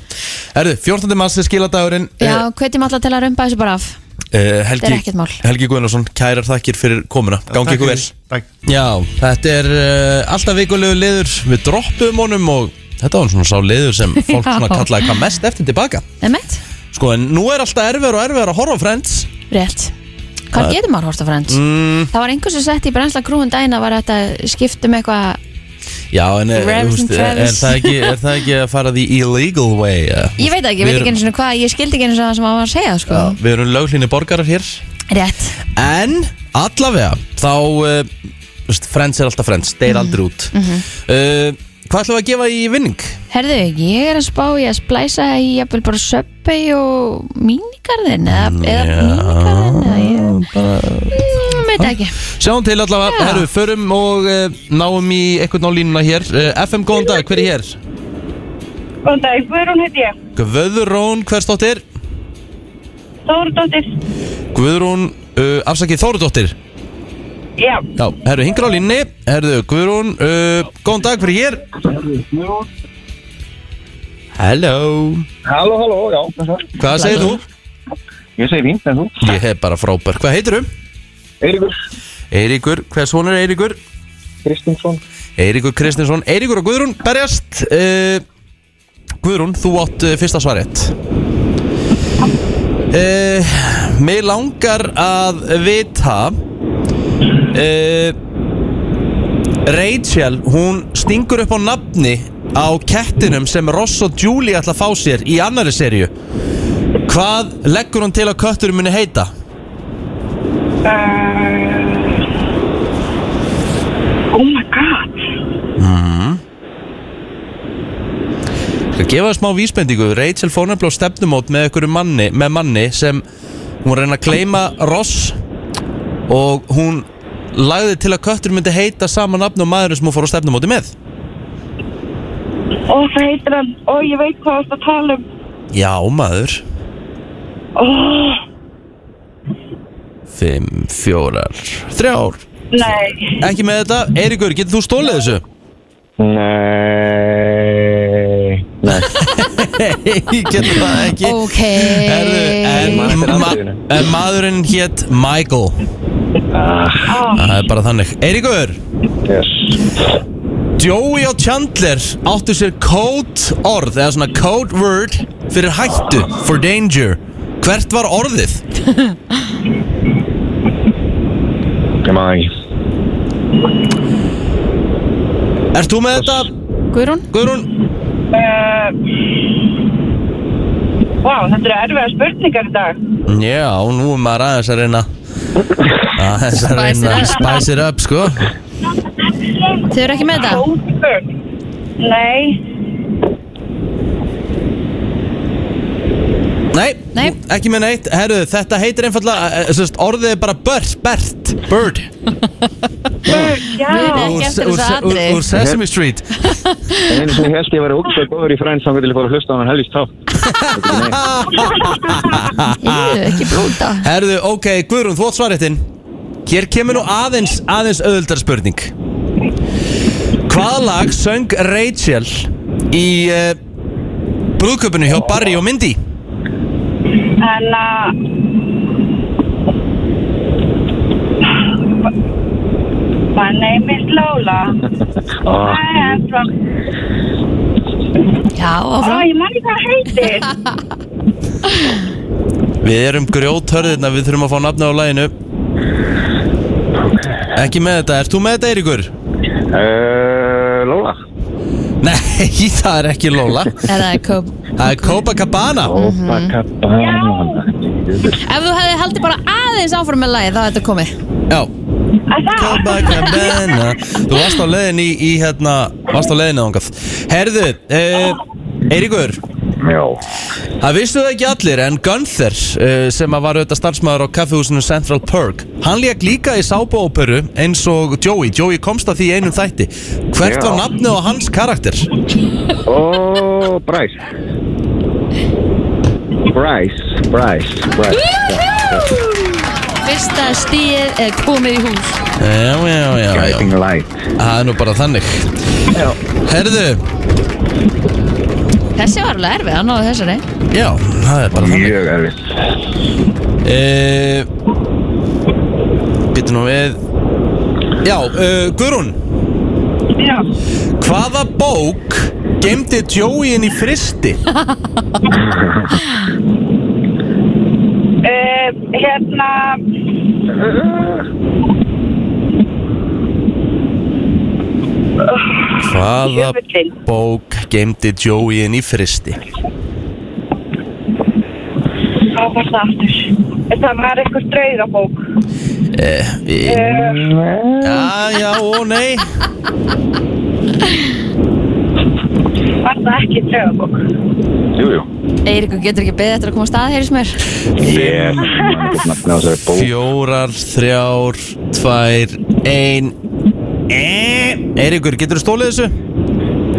A: Herðu, 14. mars er skiladagurinn
B: Já, hvetjum alla til að rumpa þessu bara af
A: Eh,
B: þetta er
A: Helgi,
B: ekkert mál.
A: Helgi Guðnarsson, kærar þakkir fyrir komuna Gangi
F: Takk
A: ykkur
F: fyrir.
A: vel
F: Takk.
A: Já, þetta er uh, alltaf vikulegu liður Við droppum honum og þetta var svona sá liður sem fólk
B: Já.
A: svona kallaði hvað mest eftir tilbaka
B: Emmett,
A: Sko, en nú er alltaf erfiður og erfiður að horfa á Friends
B: rétt Hvað getur maður horta frends? Mm. Það var einhver sem sett í brennsla krúin daginn að var þetta skiptum eitthvað
A: Já, en eh,
B: Revis
A: þú veist, er,
B: and Travis.
A: er, það ekki, er það ekki að fara the illegal way? eh?
B: Ég veit ekki, ég
A: Við
B: veit ekki
A: erum-
B: einu svona hvað, ég skildi ekki einu svona það sem hann var að segja sko.
A: Já, Við erum löglíni borgarar hér
B: Rétt,
A: En, allavega, þá, uh, þú veist, Friends er alltaf Friends,
B: Mhm.
A: deyr aldrei út uh, Hvað ætlum við að gefa í vinning?
B: herðu, ég er að spá ég að splæsa í jafnvel bara söppi og mínigarðin eða, eða
A: Já.
B: mínigarðin eða ég Mm, veit ekki
A: Sjáum til allavega,
B: Já.
A: herru, förum og uh, náum í eitthvað nálínuna hér uh, FM, góðan dag, hver er hér?
E: Góðan dag, Guðrún heiti ég.
A: Guðrún, hversdóttir?
E: Þórdóttir,
A: Guðrún, uh, afsakið Þórudóttir
E: já,
A: Já, herru, hingur á línni Herru, Guðrún, uh, góðan dag, hver er hér? Hello
G: Halló, halló, já, þessar.
A: Hvað segir þú?
G: Ég segi fínt, en þú?
A: Ég hef bara frábær, hvað heitir um?
G: Eiríkur
A: Eiríkur, hvers hún er Eiríkur?
G: Kristinsson.
A: Eiríkur Kristinsson, Eiríkur og Guðrún berjast uh, Guðrún, þú átt uh, fyrsta svarið uh, Mér langar að vita uh, Rachel, hún stingur upp á nafni á kettinum sem Ross og Julie ætla að fá sér í annari serju Hvað leggur hún til að kötturum muni heita?
E: oh my god,
A: Mhm. Ég gefa það smá vísbendingu Rachel fór nefnilega á stefnumót með einhverju manni með manni sem hún var að reyna að kleima Ross og hún lagði til að köttur myndi heita sama nafn og maðurinn sem hún fór á stefnumóti með
E: og það heitir hann, og ég veit hvað það að tala um.
A: Já maður
E: Oh.
A: 5, 4, 3
E: Nei,
A: Ekki með þetta, Eiríkur, getur þú stólið þessu?
G: Nei. Nei.
A: Nei, getur það ekki
B: ok
A: Herðu, en,
G: Man eftir
A: ma
G: andlitinu.
A: en maðurinn hétt Michael Það er bara þannig Eiríkur
G: Ah. Yes.
A: Joey og Chandler áttu sér code orð eða svona code word fyrir hættu for danger hvert var orðið?
G: Ég maður ekki.
A: Ert þú með þetta,
B: Guðrún,
A: Guðrún?
E: uh, vá, þetta eru erfiða spurningar í dag.
A: Já, nú er maður aðeins að reyna aðeins að
B: Spice it
A: reyna
B: up.
A: spice it up, sko
B: þau eru ekki með þetta
E: Hóðbörn, nei,
A: Nei,
B: Nei.
A: ekki með neitt Herru, þetta heitir einfallega eh, sem sagt, orðið er bara bird, bert, bird
E: já,
B: Guðrún ekki eftir
A: úr, úr,
B: þessu
A: úr, úr
B: atrið
A: Sesame Street
G: En einu sem ég held ég að vera ógstað góður í fræns samkvæmt til að fara að hlusta á hann helgist þá.
B: Ég ekki blóta
A: Herru, ok, Guðrún, þú átt svarréttin Hér kemur nú aðeins, aðeins auðvöldar spurning Hvaða lag söng Rachel í uh, brúðköpunu hjá Barry og Mindy?
E: en eh, að, my name is Lola,
G: Ah.
E: I am from,
B: Já,
E: ó,
B: áfram
E: ég man ekki hvað það heitir.
A: Við erum grjóthörðirna, við þurfum að fá nafna á laginu Ekki með þetta, ert þú með þetta Eiríkur?
G: Uh, Lóla.
A: Nei, það er ekki Lola
B: Eða kóp
A: Það er Copacabana
G: Opacabana.
A: Mhm.
B: Ef þú hefði haldið bara aðeins áfram með lagið þá hefði þetta komið
A: Já,
E: Að það?
A: Come back and banana Þú varst á leiðin í, í hérna Varst á leiðin ángað Herðu, uh, Eiríkur
G: Já,
A: Það vissu það ekki allir en Gunther uh, sem að var auðvitað starfsmæður á kaffehúsinu Central Perk Hann lék líka í sábóperu eins og Joey Joey komst að því í einum þætti Hvert
G: Já.
A: var nafnið á hans karakter?
G: ó, Bryce Bryce, Bryce, Bryce
B: Fyrsta stíð er komið í hús
A: Já, já, já, já
G: Guiding light
A: Það er nú bara þannig
G: Já.
A: Herðu,
B: Þessi var alveg erfið, hann náði þessari
A: já, það er bara þannig
G: Mjög erfitt
A: Eh, Býttu nú við Já, uh, Guðrún
E: Já.
A: Hvaða bók gemdi Joey inn í fristi?
E: Uh, hérna,
A: Hvaða
E: Jöfullinn.
A: bók gemdi Joey inn í fristi?
E: hvað var það aftur? Það var eitthvað draugabók.
A: Eh, við- Já, já og nei
E: Var það ekki draugabók?
G: Jú, jú
B: Eiríkur getur ekki beðið eftir að koma á stað, heyrðis mér
G: Ég man ekki nafnið á þessari bók
A: Fjórar, þrjár, tvær, ein Eh, Eiríkur, getur þú stólið þessu?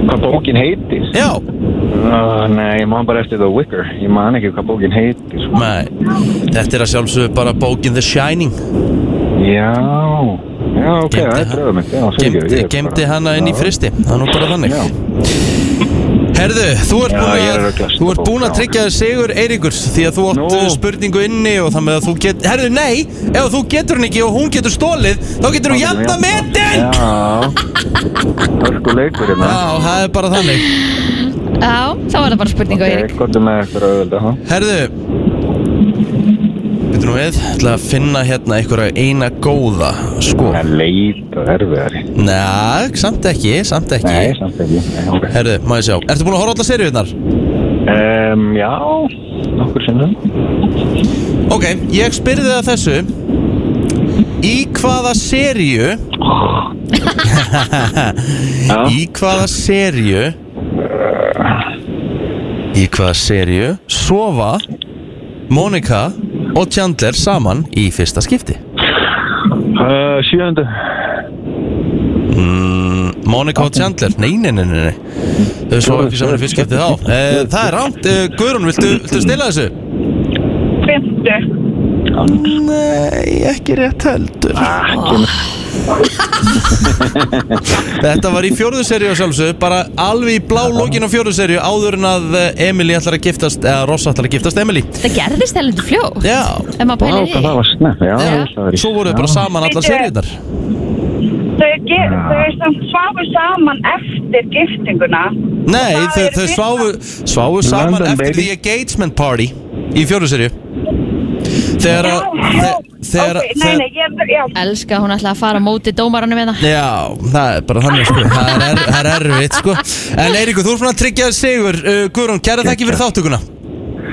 G: Hvað bókin heitir?
A: Já,
G: Uh, nei, ég man bara eftir The Wicker Ég man ekki hvað bókin heitir
A: nei Þetta er að sjálfsögðu bara bókin The Shining
G: Já, já, ok,
A: Geymdi
G: það er
A: hann-
G: dröðum mitt Já, fyrirgefðu, ég
A: Gemdi,
G: er
A: gemdi
G: bara-
A: hana inn í
G: Já.
A: fristi Það er nú bara þannig
G: Já.
A: Herðu, þú ert
G: Já, ég er
A: búin
G: að
A: að,
G: ruglast.
A: þú ert búin að tryggja þér sigur Eiríkur Því að þú átt
G: Nú.
A: uh, spurningu inni og þannig að þú get Herðu, nei, ef þú getur hann ekki og hún getur stólið Þá getur þú jafna metin Já,
G: Já, hörku leikur hérna
A: það er bara þannig
B: Já, þá var það bara spurning á Eirík
G: Ok, gott með eftir auðvölda, ha?
A: Herðu Getur nú við, ætla að finna hérna einhverja eina góða Sko,
G: Það er leit og erfiðari
A: næ, samt ekki, samt
G: Nei,
A: ekki
G: samt ekki Nei, ok
A: Herðu, má ég sjá, ertu búin að horfa á allar seriðunar?
G: um, Já, nokkur sinnum
A: Ok, ég spyrði það þessu Í hvaða seríu
G: Já,
A: Í hvaða seríu Í hvaða seríu Sofa Monika og Chandler saman Í fyrsta skipti
G: uh, sjöndu
A: mm, Monika og Chandler Nei, nei, nei, nei, nei Þau sofa ekki saman í fyrsta skipti þá e, Það er rámt, e, Guðrún, viltu, viltu stila þessu?
E: Fymtu.
A: Nei, ekki rétt heldur Þetta var í fjórðu seríu á sjálfsög Bara alveg í blá lókin á fjórðu seríu Áður en að eh, Emily ætlar að giftast Eða Ross ætlar að giftast Emily
B: Það gerðist heldur fljó
A: Já,
B: Ef maður
G: Vá,
B: pælir
G: hvað
B: í
G: það var snett Já,
B: Já.
G: ég veist það var í
A: svo voru þau bara saman allar seríunar
E: Þau, ge- þau sem svafu saman eftir giftinguna.
A: Nei,
E: Það
A: þau,
E: er
A: þau
E: fyrsta.
A: sváfu, sváfu saman
G: London,
A: eftir
G: baby.
A: The Engagement Party Í fjórðu seríu Þegar að þe- Þegar að
E: ok, nei,
A: þegar-
E: nei, ég, já,
B: Elska, hún ætlaði að fara á móti dómaranum hérna
A: Já, það er bara þannig sko Það er, er, það er erfitt sko En Eiríkur, þú ert svona að tryggja þér sigur uh, Guðrún, kæra þakki fyrir þáttuguna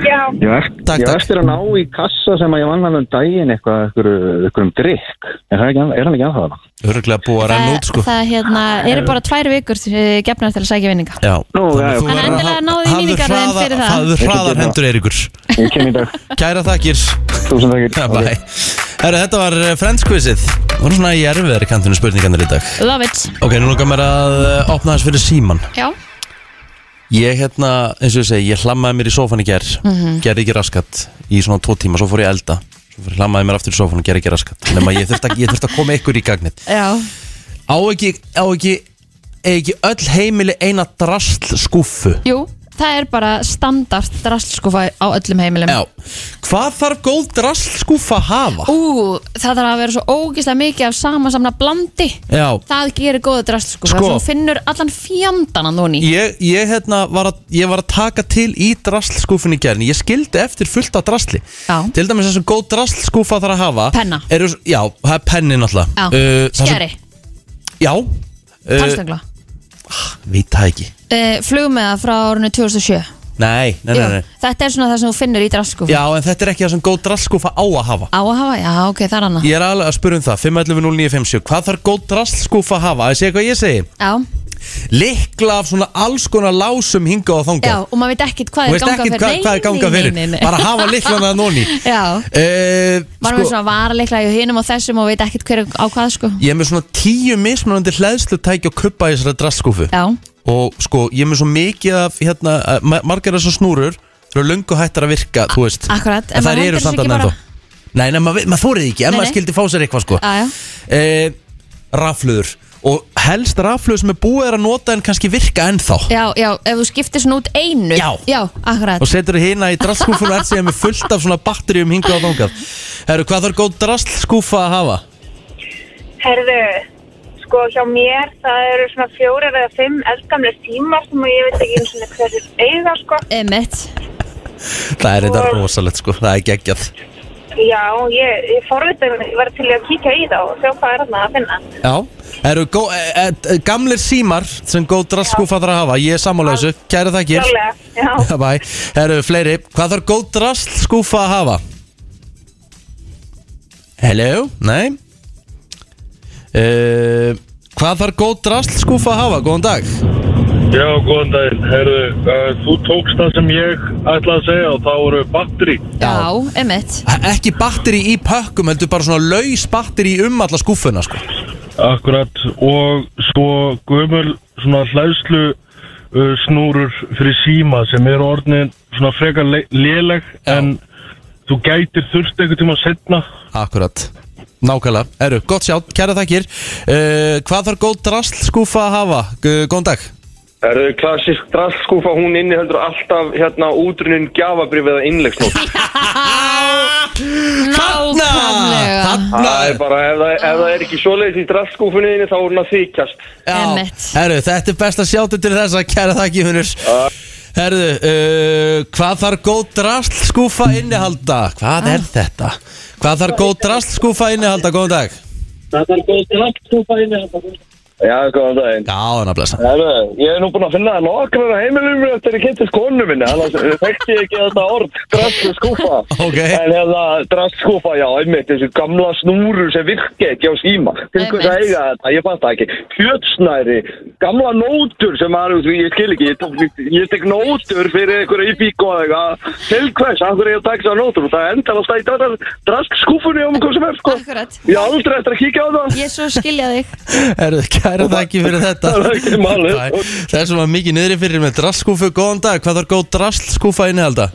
E: já,
G: Ég var eft-
A: Takk,
G: ég var
A: takk.
G: eftir að ná í kassa sem að ég vann hann um daginn eitthvað, eitthvað, eitthvað um drikk. Er, það ekki, ann- er hann ekki anþá það?
A: Örglega búið að renna út sko
B: Það hérna, eru bara tvær vikur eh, gefnar til að sækja vinninga
A: Já,
G: Nú, já, ok.
A: þannig að þú
B: En
A: verður að
B: endilega
A: ha-
B: náðu í
A: hafðu
B: minningarnar þín
A: hraðar-
B: fyrir það.
A: Hafðu hraðar
G: Ekki
A: hendur Eiríkur
G: Ég kem í dag.
A: Kæra þakkir
G: Túsund takkir.
A: Bæ Herra, þetta var eh, Friends quizið Það var svona í erfiðari kantinu spurningarnir í dag
B: Love it
A: Ok, nú langar mér að eh, opna þess fyrir síman
B: Já,
A: Ég hérna, eins og ég segi, ég hlammaði mér í sófan í ger
B: Mhm.
A: Gerði ekki raskat Í svona tvo tíma, svo fór ég að elda Svo fór ég hlammaði mér aftur í sófan og gerði ekki raskat Nefn að ég þurfti að, ég þurfti að koma ykkur í gagnið
B: já
A: Á ekki, á ekki, eigi ekki öll heimili eina drasl skúfu
B: Jú, það er bara standard drastlskúfa á öllum heimilum
A: Já, hvað þarf góð drasl skúfa að hafa?
B: Ú, það þarf að vera svo ógislega mikið af samasamna blandi
A: Já,
B: Það gerir góða drastlskúfa
A: Sko.
B: Þú finnur allan fjandan að núni
A: ég, ég hérna var að, ég var að taka til í drasl skúfunni í gerðin Ég skildi eftir fullt af drasli
B: Já.
A: Til dæmis þessu góð drasl skúfa þarf að hafa
B: Penna.
A: eru, Já, það er pennin alltaf
B: Já,
A: uh, það sem- eh,
B: skeri,
A: Já
B: tannstöngla
A: Vita ekki
B: uh, Flugmeða frá Eh, árinu 2007
H: Nei, nei, nei,
B: Jú,
H: nei.
B: Þetta er svona það sem þú finnur í draskúfa
H: Já, en þetta er ekki það sem góð drastskúfa á að hafa
B: Á að hafa, já ok, það er annað
A: Ég er alveg að spura um það, 511-0957 Hvað þarf góð drastskúfa að hafa? Að segja hvað ég segi
B: Já,
A: Likla af svona alls konar lásum hinga og þanga
B: já og maður veit ekkit
A: Þú
B: hvað er
A: veist
B: ganga
A: ekki
B: fyrir
A: hvað,
B: Nei,
A: hvað er ganga
B: nei,
A: fyrir
B: nei, nei.
A: Bara hafa liklana að nóni
B: Já,
A: uh,
B: maður með svona varalikla í hinum og þessum og veit ekkit hver á hvað sko
A: Ég er með svona tíu mismunandi hleðslu tæki og kuppa í þessari drastskúfu
B: Já,
A: Og sko, ég er með svo mikið af hérna, eh, ma- Margar þessar snúrur Þau eru löngu hættar að virka, þú veist
B: akkurat,
A: En
B: en
A: þær
B: maður
A: eru
B: hendir þessu
A: samt
B: ekki
A: að
B: bara-
A: nefnda Nei, nei, maður mað þórið ekki En
B: Nei,
A: maður
B: nei.
A: skildi fá sér eitthvað sko
B: Já, já.
A: eh, Rafluður Og helst rafluður sem er búið er að nota En kannski virka ennþá
B: já, já, ef þú skiptir svona út einu
A: Já.
B: akkurat
A: Og setur hérna í drastskúfun og er síðan með fullt af svona batteríum hingað og þangað Herru, hvað þarf góð drastskúfa að hafa?
E: Herðu, sko hjá mér það eru svona fjórar eða fimm eldgamlega tímar sem ég veit ekki einu svona hverju eiga sko.
B: Emmett,
A: Það er þetta rosalegt sko, það er geggjað
E: Já, ég, ég forvitið mig, ég var til í að kíkja í þá og sjá hvað er þarna að finna.
A: Já Herru, gó, e, e, e, gamlir símar sem góð drastskúfa þarf að hafa Ég er sammála þessu, kæra þakkir
E: Klálega, já.
A: Bæ, herru, fleiri Hvað þarf góð drastskúfa að hafa? Hello, nei uh, Hvað þarf góð drastskúfa að hafa? Góðan dag
I: Já, góðan daginn, herðu, uh, þú tókst það sem ég ætlaði að segja og þá voru batteri.
B: já, Emmett
A: Ekki batteri í pökkum, heldur bara svona laus batteri um alla skúfuna sko.
I: Akkurat, og svo gömul svona hlæðslu uh, snúrur fyrir síma sem eru orðnin svona frekar le- léleg
A: Já.
I: en þú gætir þurft einhvern tíma setna.
A: Akkurat, nákvæmlega Herru, gott sjátt, kæra þakkir uh, Hvað þarf góð drastskúfa að hafa? Gu- Góðan dag
J: Er þau klassisk drastskúfa, hún inniheldur alltaf hérna útrunin gjafabrif eða innlegsnót.
B: Ah, Nákvæmlega.
J: Það er bara, ef það, ef það er ekki svoleiðis í drastskúfunni þinni þá er hún að þykjast.
A: Já,
B: Emmett.
A: herru, þetta er best að sjáttu til þess að kæra þakki húnur Herru, uh, hvað þarf góð drastskúfa innihalda? Hvað er þetta? Hvað þarf góð drastskúfa innihalda? Góðan dag
J: Já, góðan daginn.
A: Já, hann að blessa
J: Herru, ég er nú búinn að finna það nokkrar að heimilum mér eftir að kynntist konu minni, annars þekkti ég ekki þetta orð, drastskúfa.
A: Ok.
J: En hérna, drastskúfa, já, einmitt, þessu gamla snúru sem virki ekki á síma. Til hvers að
B: Einmitt.
J: eiga þetta, ég fatt það ekki. Fjötsnæri, gamla nótur sem maður, þú- ég skil ekki, ég, tók, ég tek nótur fyrir einhverja í bíko eða eitthvað. Til hvers, hann þurfi ég að taka þessar nótur og það endar alltaf í drast- drastskúfunni um hvað sem er, sko.
B: Akkurat.
J: Ég á aldrei eftir að kíkja á það.
B: Ég svo skilja þig
A: Herru, kæra þakki fyrir þetta
J: Það er ekki málið.
A: Bæ. Þessum var mikið niðri fyrir með drastskúfu Góðan dag, hvað þarf góð drastskúfa innihalda?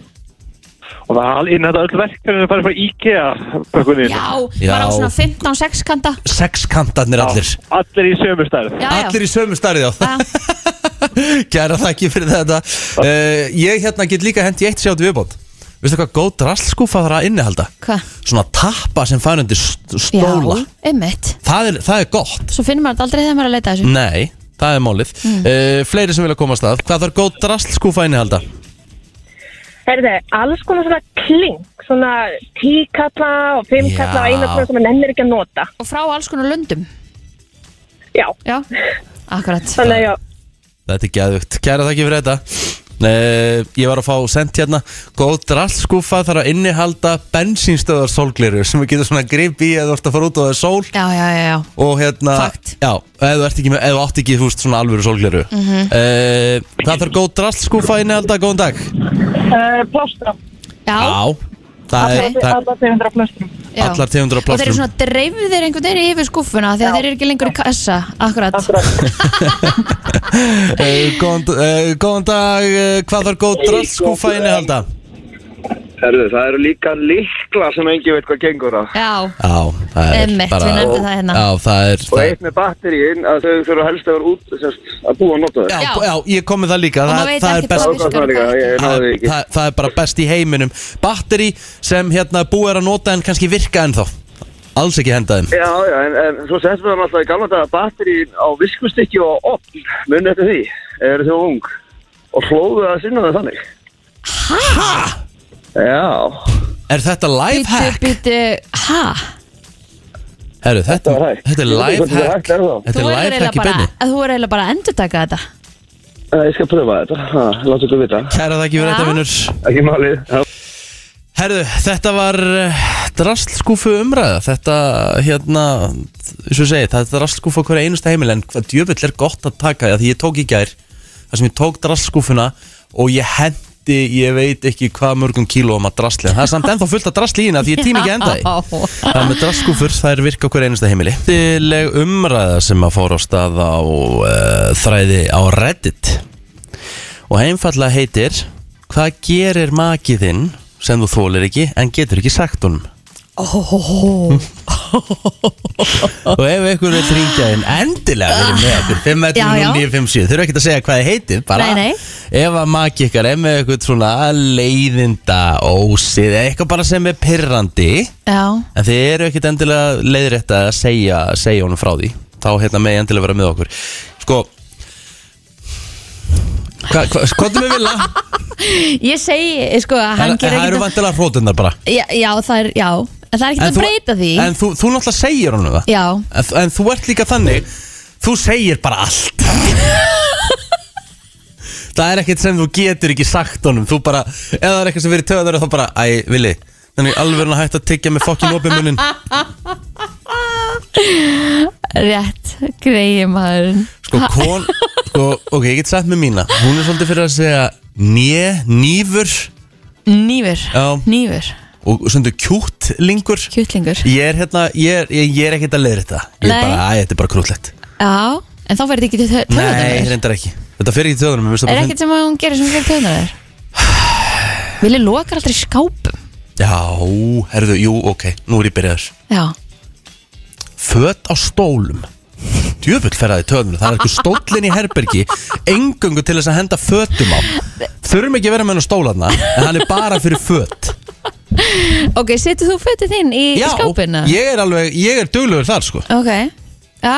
I: Og það er þetta öll verkefni að fara frá IKEA bökunni.
B: Já,
A: Já.
B: bara á svona 15-6 kanta
A: Sekskantarnir allir
I: Allir í sömu stærð.
B: já,
A: Allir í sömu starrið á
B: Já.
A: Kæra þakki fyrir þetta uh, Ég hérna get líka hent í eitt sjátt viðbót Veistu hvað góð drastskúfa þarf að innihalda?
B: Hvað?
A: Svona tappa sem fær undir st- stóla
B: Já, einmitt
A: það er, það er gott
B: Svo finnur maður þetta aldrei þegar maður er að leita að þessu
A: Nei, það er málið
B: Mm.
A: uh, Fleiri sem vilja koma að stað Hvað þarf góð drastskúfa að innihalda?
E: Herðu, alls konar svona kling, svona tíkalla og fimmkalla og
A: Já.
E: eina svona sem maður nennir ekki að nota.
B: Og frá alls konar löndum
E: Já,
B: Já, akkurat
E: þannig að já,
A: Þetta er geðvögt Kæra þakki fyrir þetta uh, Ég var að fá sendt hérna Góð drastskúfa þarf að innihalda bensínstöðar solgleru sem við getum svona grip í eða þú ert að fara út og það er sól
B: Já, já, já, já
A: og hérna
B: Fakt. Mhm.
A: já, eða þú ert ekki með, eða þú átt ekki þú veist svona alvöru sólgleru mm það þarf góð drastskúfa inni alltaf, góðan dag
E: uh, plástra,
B: Já,
A: það er,
B: Allar-
A: það er
E: alla 500 plástra.
B: já
A: allar tegundur af
B: Og þeir eru
A: plástur
B: svona dreifðir einhvern veginn yfir skúffuna Því að þeir eru ekki lengur í kassa Akkurat
A: uh, góðan, uh, góðan dag, uh, hvað þarf góð sko, drastskúfa inni alltaf
J: Herðu, það eru líka likla sem engin veit hvað gengur á.
B: Já,
A: já, það er
B: Einmitt, við nefndum það hérna.
A: já, það er,
J: Og
A: það er
J: eitt með batteríin að þau þurfa helst að vera út semst, að búa að nota
A: já,
J: þau.
B: Já.
A: já, ég kom með það líka
B: og
A: það,
B: maður veit
A: það er
B: ekki
A: best
B: hvað
J: Það var það líka, ég
A: Það,
J: náði því ekki.
A: það, það er bara best í heiminum Batteri sem hérna búið er að nota en kannski virka ennþá Alls ekki henda þeim
J: Já, já, en, en svo settum við hann alltaf í gamla daga batteríin á viskustykki og opn, munið eftir því, eru þau ung. Og hlóðu það að sinna það þannig. Hæ? Já,
A: Er þetta
B: Bítu,
A: lifehack?
B: bítu, ha?
A: Herru, þetta,
J: það var hægt.
A: þetta er
J: Ég veit
A: live
J: ekki hvernig þetta er hægt,
A: hack
J: er það?
A: Þetta er
B: Þú
A: live
B: verður
A: hack í
B: eiginlega bara
A: beinni
B: að Þú verður eiginlega bara að endurtaka þetta
J: Eh, Ég skal pröfa þetta, ha, láta ykkur vita
A: Kæra þakki fyrir
B: Já.
A: þetta vinnur
J: Ekki málið Já.
A: Herðu, þetta var drastlskúfu umræða Þetta, hérna, eins og ég segi, það er drastlskúfa á hverju einasta heimil En hvað djöfull er gott að taka það Því ég tók í gær, það sem ég tók drastlskúfuna Og ég hendi, ég veit ekki hvað mörgum kílóum að drastli En það er samt ennþá fullt að drastli í hérna Því ég tími ekki að enda því
B: Já.
A: Það með drastkúfur, það er virka okkur einasta heimili Tileg umræða sem að fór á stað á uh, þræði á Reddit Og heimfalla heitir Hvað gerir makið þinn sem þú þólir ekki en getur ekki sagt honum Og ef ykkur vil ringja inn endilega verið með ykkur 512957 Þau eru ekkert að segja hvað þið heitir bara
B: Nei, nei.
A: Ef að maki ykkar er með ykkur svona leiðinda ósið eða eitthvað bara sem er pirrandi
B: Já,
A: En þið eru ekkert endilega leiðrétt að segja, segja honum frá því Þá hérna með endilega vera með okkur Sko Hvað hva, hva, er með vilja?
B: ég segi sko að hann
A: Það
B: gerir
A: eru
B: ekkert
A: vantilega hrótundar bara
B: að- já, já, það er, já En það er ekkert að breyta því
A: En þú, þú náttúrulega segir honum það
B: Já,
A: en, þú- en þú ert líka þannig Þú segir bara allt Það er ekkert sem þú getur ekki sagt honum Þú bara, ef það er eitthvað sem verið töðar Þá bara, æ, villi Þannig alveg hann hægt að tyggja með fokkin opið munin
B: rétt, greiði maður
A: Sko, kon, sko, ok, ég get sagt með mína Hún er svolítið fyrir að segja Njö, nýfur
B: Nýfur,
A: Já.
B: nýfur,
A: Og svolítið kjútlingur
B: kjútlingur
A: Ég er hérna, ég er, ég, ég er ekkert að leiða þetta Ég
B: Nei.
A: er bara, æ, þetta er bara krúllett
B: Já, en þá verður ekki til
A: Nei,
B: töðunar
A: reyndar ekki Þetta fyrir ekki þjóðunum
B: Er ekkert sem að hún gerir sem fyrir töðunar Vili lokar aldrei skápum
A: Já, herðu, jú, ok, nú er ég byrjaður
B: Já,
A: Föt á stólum Djöfull ferðaði töðunum Það er eitthvað stólinn í herbergi Engöngu til þess að henda fötum á Þurfum ekki að vera með hann á stólarna En hann er bara fyrir föt
B: ok, setur þú fötið þinn í
A: Já,
B: skápina?
A: ég er alveg, ég er duglegur þar sko
B: Ok, já,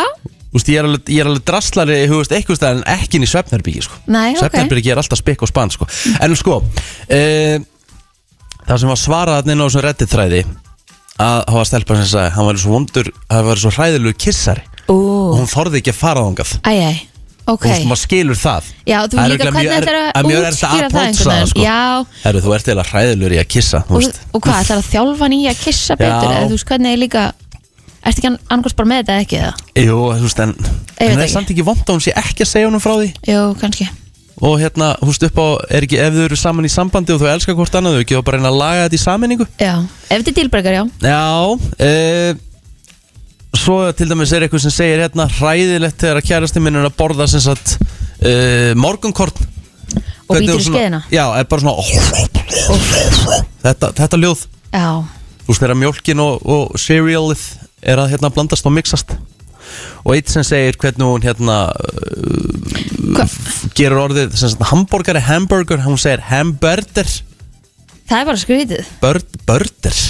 A: Úst, ég, er alveg, ég er alveg draslari hugast, eitthvað stað en ekki inn í svefnherbyggi sko.
B: Nei, ok.
A: Svefnherbyggi er alltaf spikk og spann sko. En sko e, Það sem var svarað þarna inn á þessum reddit þræði að hafa stelpa sem sagði hann var svo vondur, hann var svo hræðilegu kissari og
B: ú,
A: hún þorði ekki að fara þangað
B: æj, æj Ok,
A: og maður skilur það
B: já, þú
A: Það er
B: líka
A: örugglega
B: hvernig
A: mjög
B: ætlar
A: er-
B: að
A: mjög erfitt að
B: útskýra það
A: approacha
B: einhvern veginn
A: sko.
B: Já,
A: Herru, þú ert eiginlega hræðilegur í að kissa þú
B: og,
A: veist.
B: og hvað, ætlar að þjálfa hann í að kissa betur
A: Já.
B: eða þú veist hvernig er líka ertu ekki annars bara með þetta eða ekki það?
A: Jú, þú veist, en, en
B: veit
A: það er
B: ekki.
A: samt ekki vond að hún sé ekki að segja honum frá því
B: Jú, kannski
A: og hérna, þú veist upp á, er ekki ef þau eru saman í sambandi og þau elskar hvort annað þau ekki þá bara reyna að laga þetta í sammenningu
B: Já, ef þetta er dílbrekar, já
A: Já, e, svo til dæmis er eitthvað sem segir hérna hræðilegt þegar að kærasti minn er að borða sem sagt e, morgunkorn
B: og
A: Hvernig
B: býtir
A: þú
B: í
A: svona-
B: skeiðina
A: Já, er bara svona þetta, þetta ljóð,
B: Já,
A: þú veist þegar mjólkin og, og cerealið er að hérna blandast og mixast og eitt sem segir hvernig hún hérna
B: Hva?
A: gerur orðið sem sagt hamburgari, hamburger, hún segir hamburger
B: það er bara skrítið
A: Börd, börder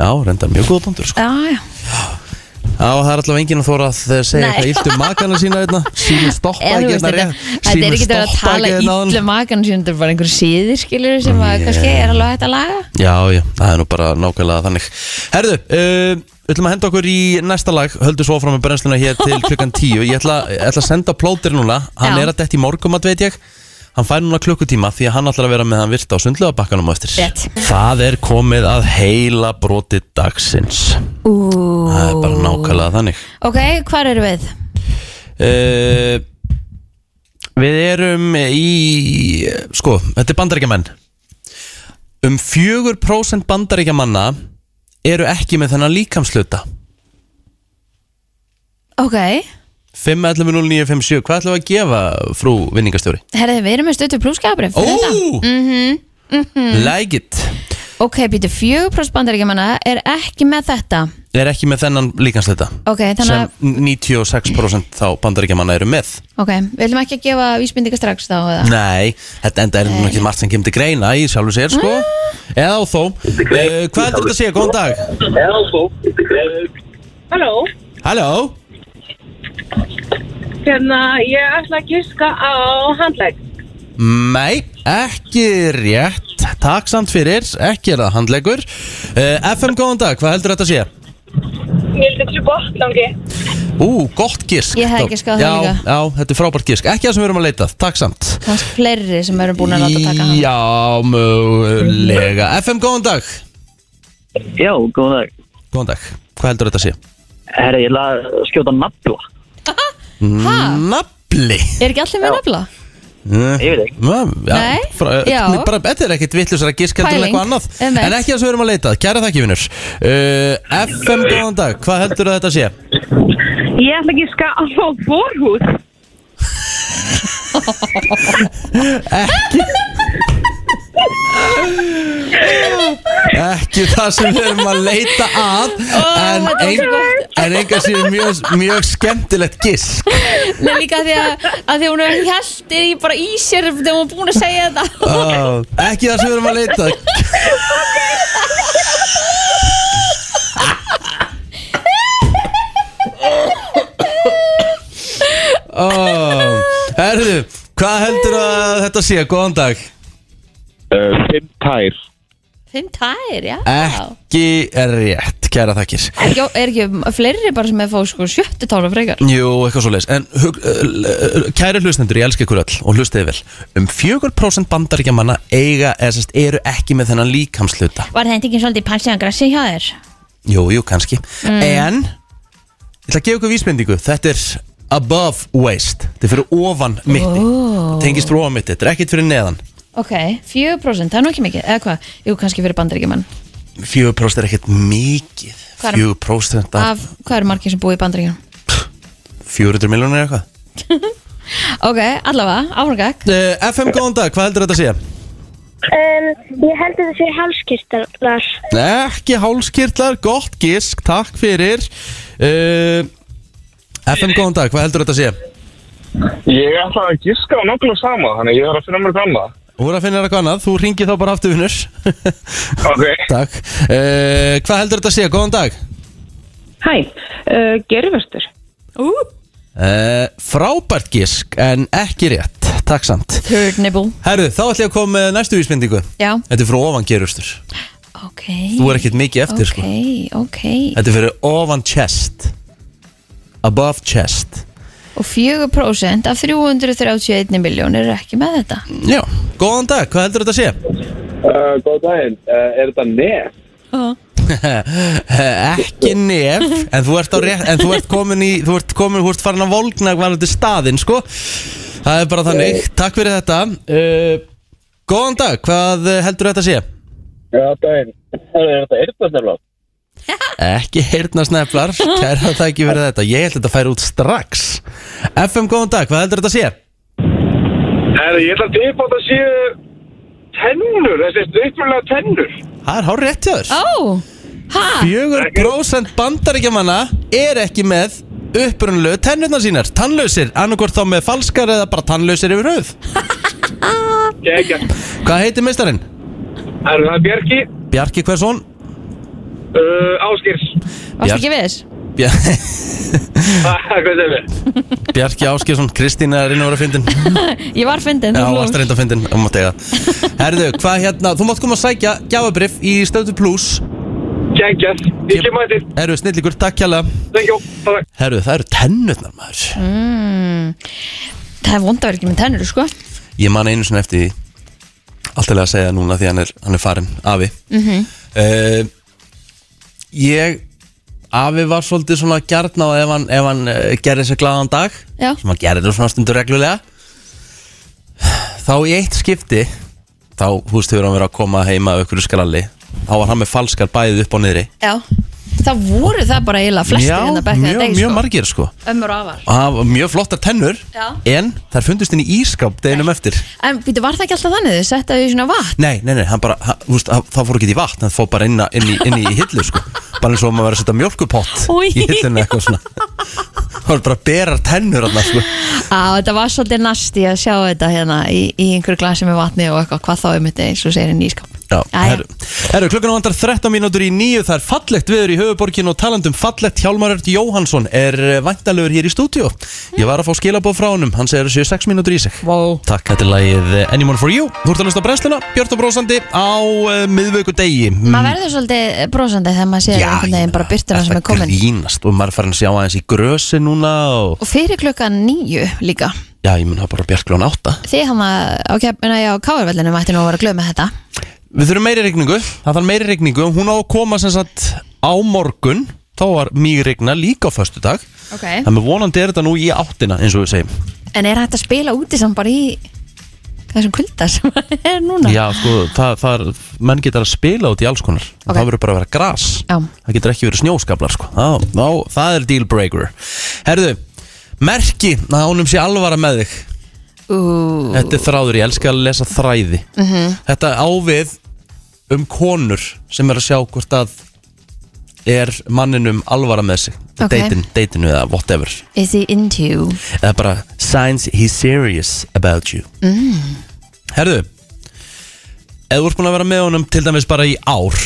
A: Já, reyndar mjög góða punktur sko.
B: Já, já,
A: Já, það er allavega enginn að þóra að segja
B: Nei.
A: eitthvað illt um makana sína hérna Sýnum stoppa
B: eða þú
A: ekki
B: veist
A: hérna
B: þetta
A: rétt
B: þetta er
A: Sýnum
B: ekki verið að
A: stoppa
B: tala
A: ekki hérna áðan.
B: ítlu makan síðan þetta er bara einhver síðir skilur sem að
A: Yeah.
B: kannski er alveg hægt að laga
A: Já, já, það er nú bara nákvæmlega þannig Herðu, um, við ætlum að henda okkur í næsta lag Höldu svo áfram með brennsluna hér til klukkan 10 Ég ætla, ég ætla að senda plótir núna Hann
B: Já.
A: er að detti í morgumat veit ég Hann fær núna klukkutíma því að hann ætlar að vera með hann virta á sundlega bakkanum eftir
B: Rétt.
A: Það er komið að heila broti dagsins
B: Ú,
A: Það er bara nákvæmlega þannig
B: ok, hvar eru við?
A: Eh, Við erum í Sko, þetta er bandaríkjamenn Um 4% bandaríkjamanna eru ekki með þennan líkamsluta
B: Ok,
A: 5.11.09.57 Hvað ætlum við að gefa frú vinningastjóri?
B: herðið, við erum með stötu pluskapri
A: Ó!
B: Mm.
A: Like it
B: Mhm, Ok, býtu, 4% bandaríkjumanna er ekki með þetta
A: Er ekki með þennan líkamsluta
B: Ok, þannig að
A: sem 96% þá bandaríkjamanna eru með
B: Ok, við ætlum ekki að gefa vísbindinga strax þá eða?
A: Nei, þetta enda er nú ekki margt sem kemur til greina í sjálfu sér sko
B: Ah.
A: Eða á þó Eh, Hvað heldur þetta að segja? Góðan dag
E: Halló,
A: Halló
E: hérna, ég ætla að gíska á handlegg.
A: Nei, ekki rétt Takk samt fyrir, ekki er það Eh, handlegur uh, FM, góðan dag, hvað heldur þetta að sé?
E: Ég held þetta sé botnlangi.
A: Ú, gott gisk
B: Ég hefði giskað það
A: já,
B: líka.
A: Já, þetta er frábært gisk Ekki það sem við erum að leita, að, takk samt
B: kannski fleiri sem eru búin að láta taka hann
A: Já, mögulega FM, góðan dag
K: Já, góðan dag.
A: Góðan dag, hvað heldur þetta að sé?
K: Herri, ég ætla að skjóta nafla.
A: Nafli
B: Er ekki allir með nafla?
A: Ég veit ekki
B: Nei, já.
A: Bara þetta er ekkit vittlusar að giska heldur en
B: Pæling,
A: eitthvað annað
B: einmitt.
A: En ekki það sem við erum að leita, að, kæra þakki vinnur uh, FM, góðan dag, hvað heldur þetta að sé?
E: Ég ætla ekki að ska alveg á borhús.
A: ekki það sem við erum að leita að en,
B: þetta var svo
A: ein, en enga síðan mjög, mjög skemmtilegt gisk
B: Nei, líka af því að, að því að hún er held er ég bara í sér þegar hún er búin að segja þetta
A: oh, ekki það sem við erum að leita að. oh, herðu hvað heldur að þetta sé, góðan dag
J: Eh, Fimm tær
B: Fimm tær, já
A: Eh. ekki rétt, kæra þakkir
B: Er ekki, er ekki fleiri bara sem er fóð sko sjöttu tála frekar
A: Jú, eitthvað svo leiðis En hug, uh, uh, uh, kæri hlustendur, ég elska ykkur öll Og hlustiði vel Um 4% bandaríkja manna eiga eða sérst eru ekki með þennan líkamsluta
B: Var þetta ekki svolítið pansiðan grassi hjá þér?
A: Jú, jú, kannski
B: Mm.
A: Mm. En Ég ætla að gefa ykkur vísbendingu Þetta er above waist Þetta er fyrir ofan mitti
B: Ó.
A: Tengist fyrir ofan mitti, þetta er ekkit fyrir neðan
B: Ok, 4% það er nú ekki mikið, eða hvað? Jú, kannski fyrir bandaríkjumann
A: 4% er ekkit mikið
B: Hvað er-
A: 4% af
B: Af hvað eru margir sem búið í bandaríkjum?
A: 400 miljónir eitthvað
B: Ok, allavega, áframgag
A: uh, FM, góðan dag, hvað heldur þetta að sé?
L: Um, ég held að það sé hálskirtlar.
A: Ekki hálskirtlar, gott gisk, takk fyrir uh, FM, góðan dag, hvað heldur þetta að sé?
J: Ég ætla að giska á nokkuð sama Þannig að ég þarf að finna mér gamla
A: Þú voru að finna þér eitthvað annað, þú ringið þá bara aftur vinnur
J: Ok
A: Takk uh, Hvað heldur þetta að sé, góðan dag?
M: Hæ, uh, gerðvörstur. Ú,
A: Uh, frábært gisk, en ekki rétt Takk samt
B: Third nibble
A: Herru, þá ætlum ég að koma með næstu vísmyndingu
B: Já,
A: Þetta er fyrir ofan gerustur
B: ok
A: Þú er ekkert mikið eftir
B: Ok,
A: sko
B: ok
A: Þetta er fyrir ofan chest Above chest
B: Og 4% af 331 miljón eru ekki með þetta
A: Já, góðan dag, hvað heldur þetta að sé?
J: uh, Góð daginn, uh, er þetta nef?
A: ekki nef en þú ert, á rétt, en þú ert komin í þú ert komin, þú ert farin að volgna hvað þetta staðinn sko það er bara þannig, takk fyrir þetta uh, góðan dag, hvað heldur þetta að sé?
J: Já, daginn, er þetta eyrnasnefla?
A: ekki heyrna sneflar kæra það ekki verið þetta, ég held að þetta færi út strax FM, góðan dag, hvað heldur þetta að sé?
J: Herri, ég ætla að tipa að það séu tennur, þessi upprunalega tennur
A: það er hár rétt hjá þér
B: Ó, hæ?
A: 4% bandaríkjamanna er ekki með upprunalegu tennurnar sínar, tannlausir, annarkvort þá með falskar eða bara tannlausir yfir höfuð
J: Gekja
A: Hvað heitir meistarinn?
J: Herri, það er Bjarki
A: Bjarki Hversson
J: uh, Áskýrs
B: Varst ekki við þess?
A: Bjar
J: Hvað segir við?
A: Bjarki Áskjesson, Kristín er inn að vera fyndin
B: Ég var fyndin,
A: Já,
B: þú
A: varst reynda fyndin, um að tega Herðu, hvað hérna, þú mátt koma að sækja gjafabrif í stöðu plus
J: Gekjað, ég kem að þetta
A: Herðu, snillíkur, takk hjá
J: Thank you, takk
A: Herðu, það eru tennutnar maður
B: mm, Það er vond að vera ekki með tennur, sko
A: Ég man einu sinni eftir því Alltaf að segja núna því hann er, hann er farin, afi
B: Mhm.
A: uh, Ég Afi var svolítið svona gjarn á ef hann, ef hann uh, gerði sér glaðan dag
B: Já.
A: sem hann gerði þetta svona stundur reglulega þá í eitt skipti þá húst hefur hann verið að koma heima af ykkur skralli þá var hann með falskar bæðið upp á niðri
B: Já, það voru það bara eiginlega flestir
A: Já,
B: hérna back in the
A: mjög,
B: day,
A: mjög
B: sko.
A: margir sko
B: Ömmur og afar
A: og það var mjög flottar tennur
B: Já.
A: en þær fundust inn í ískáp deginum eftir
B: En býtu, var það ekki alltaf þannig? Þau settu þau í svona vatn
A: Nei, nei, nei, hann bara, hann, þú veist, hann- það fór ekki í vatn, það fór bara inn, að- inn, í, inn í hillu, sko Bara eins og maður verið að setja mjölkupott
B: Új.
A: í hilluna eitthvað svona Það var bara berar tennur hann, sko
B: Á, þetta var svolítið nasti að sjá þetta hérna í, í einhverju glasi með vatni og eitthvað, hvað þá er mitt eins og segir í nýskap
A: Já,
B: Jæja.
A: herru, herru, klukkan vandar 13 mínútur í nýju Það er fallegt viður í höfuborgin og talandum fallegt Hjálmar Örd Jóhansson er væntalögur hér í stúdíu Ég var að fá skilabóð frá honum, hann segir að séu 6 mínútur í sig wow. Takk, þetta er lagið Anyone for You Þú ert að lusta á brennsluna, Björn og Brósandi á uh, miðvöku degi
B: Maður verður svolítið brosandi þegar maður sér einhvern veginn bara byrtuna sem er komin
A: Grínast og maður er farin að sjá aðeins í grösi núna og...
B: Og fyrir klukkan nýju líka
A: Já, ég mun það bara Björn klón 8
B: Þið hann á keppina á káarvellinu mætti nú að vera að glöð með þetta
A: Við þurfum meiri regningu, það þarf meiri regningu Hún á að koma sem sagt á morgun Þá var mjög regna líka á föstudag
B: Ok.
A: Þannig vonandi er þetta nú í áttina eins og við segjum
B: En er hægt að spila úti samt bara í þessum kulda sem er núna
A: Já, sko, það, það er, menn getur að spila út í alls konar
B: Ok.
A: Það verður bara að vera gras
B: Já.
A: Það getur ekki verið snjóskablar, sko Ná, ná, það er deal breaker Herðu, merki að honum sé alvara með þig
B: Ú,
A: Þetta er þráður, ég elska að lesa þræði
B: Mhm.
A: Þetta ávið um konur sem er að sjá hvort að er manninum alvara með sig
B: Ok.
A: Deitin, deitinu eða whatever
B: Is he into you?
A: Eða bara signs he's serious about you
B: Mm.
A: Herðu Ef þú ert búin að vera með honum til dæmis bara í ár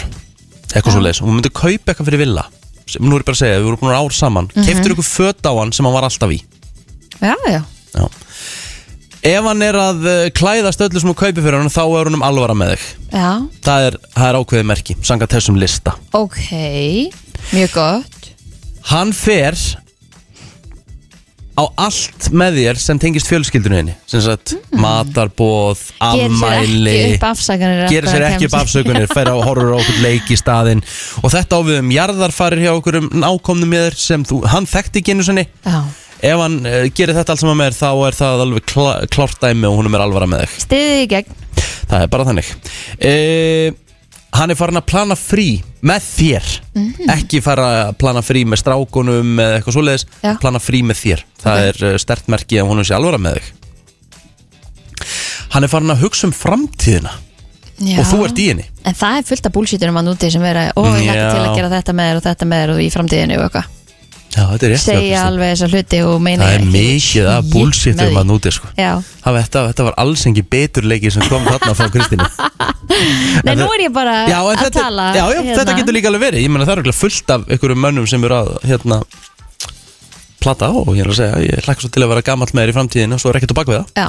A: Eitthvað svo leis Og hún myndi kaupa eitthvað fyrir villa sem, Nú er ég bara að segja, ef þú eru búin að vera ár saman mm
B: Mhm.
A: -hmm. Keiftur ykkur föt á hann sem hann var alltaf í
B: Já, já
A: Já. Ef hann er að eh, klæðast öllu sem hún kaupi fyrir hann Þá er hann um alvara með þig
B: Já,
A: Það er, það er ákveðið merki, sanga þessum lista
B: ok Mjög gott
A: Hann fer á allt með þér sem tengist fjölskyldinu henni sem sagt matarboð,
B: Gerir sér
A: afmæli
B: ekki upp afsakanir
A: gerir sér ekki upp afsökunir fer á horror á okkur leik í staðinn og þetta á við um jarðarfarir hjá okkur um nákomnum með þér sem þú, hann þekkti ekki einu sinni
B: Já.
A: ef hann uh, gerir þetta allt saman með þér þá er það alveg klá, klárt dæmi og húnum er alvara með þig
B: Stiðið í gegn
A: það er bara þannig e, hann er farin að plana frí með þér
B: Mhm.
A: ekki fara að plana frí með strákunum eða eitthvað svoleiðis,
B: Já.
A: plana frí með þér það okay. er stert merki að honum sé alvara með þig hann er farin að hugsa um framtíðina
B: Já.
A: og þú ert í henni
B: En það er fullt af búlsítunum að núti sem vera Ó, ég lakka
A: Já.
B: til að gera þetta með þér og þetta með þér og í framtíðinu og eitthvað
A: Já, þetta er rétt hjá
B: Segja
A: Kristín.
B: alveg þessa hluti og meina
A: það er
B: ekki
A: mikið að
B: shit
A: bullshit
B: með
A: um
B: því.
A: að núti sko.
B: Já,
A: Það var- þetta, þetta var alls engi beturleiki sem kom þarna frá Kristínu
B: nei nú er ég bara
A: Já, en
B: að
A: þetta,
B: tala hérna.
A: já, já, þetta getur líka alveg verið Ég meina það er örugglega fullt af einhverjum mönnum sem eru að hérna, plata á og ég er að segja ég hlakka svo til að vera gamall með þér í framtíðinu og svo er ekkert á bak við það
B: Já,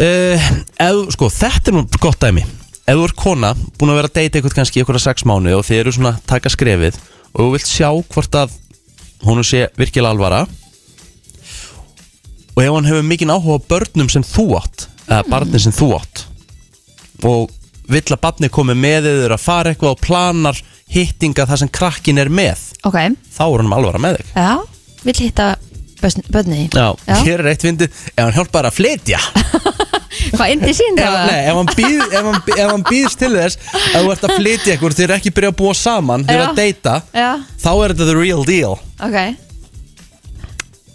A: uh, ef, sko, Þetta er nú gott dæmi Ef þú ert kona, búin að vera að deyta eitthvað kannski í einhverja sex mánu og þið eru svona að taka skrefið og þú vilt sjá hvort að hún sé virkilega alvara og ef hann hefur mikinn áhuga á börnum sem þú átt eða barnin sem þú átt og vill að barni komi með þið er að fara eitthvað og planar hittinga það sem krakkin er með
B: ok,
A: þá er hann alvara með þig
B: já, vill hitta börn- börnin þín.
A: Já,
B: Já.
A: hér er eitt vindi ef hann hjálpar að flytja
B: Hvað indi sín
A: ef,
B: það?
A: nei, ef, hann býð, ef, hann, býð- ef hann býðst til þess ef þú ert að flytja ykkur, þið eru ekki byrjað að búa saman þið eru
B: Já.
A: að deyta
B: Já,
A: þá er þetta the real deal
B: ok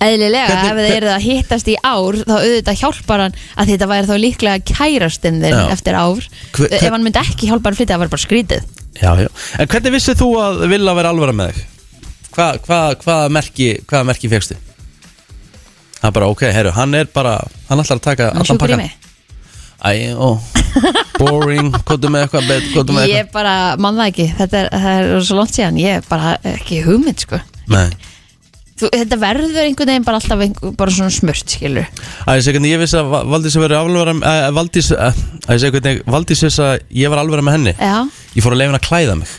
B: Eðlilega,
A: Hvernig-
B: ef þið eruð að hittast í ár þá auðvitað hjálpar hann að þetta væri þá líklega kærastinn þinn
A: Já.
B: eftir ár
A: Hver- hver-
B: Ef hann myndi ekki hjálpa hann flytja, það var bara skrítið
A: já, já. en hvernig vissið þú að vilja vera alvara með þig? Hva, hva, hvaða merki, hvaða merki fegstu? það er bara ok, herru, hann er bara hann ætlar að taka
B: Hann er
A: allan
B: sjúkur í
A: pakkan
B: mig.
A: Æ, ó, boring, kóttu með eitthvað bet- kóttu með
B: Ég bara man það ekki, þetta er, það er svo langt síðan Ég er bara ekki hugmynd sko
A: eitthvað nei
B: Þú, þetta verður einhvern veginn bara alltaf einhver, bara svona smurt, skilur
A: Æ, ég segi hvernig ég vissi að Va- Valdís verið alvara uh, Valdís, uh, ég segi hvernig Valdís vissi að ég var alvara með henni
B: Já.
A: Ég fór að leifa henni að klæða mig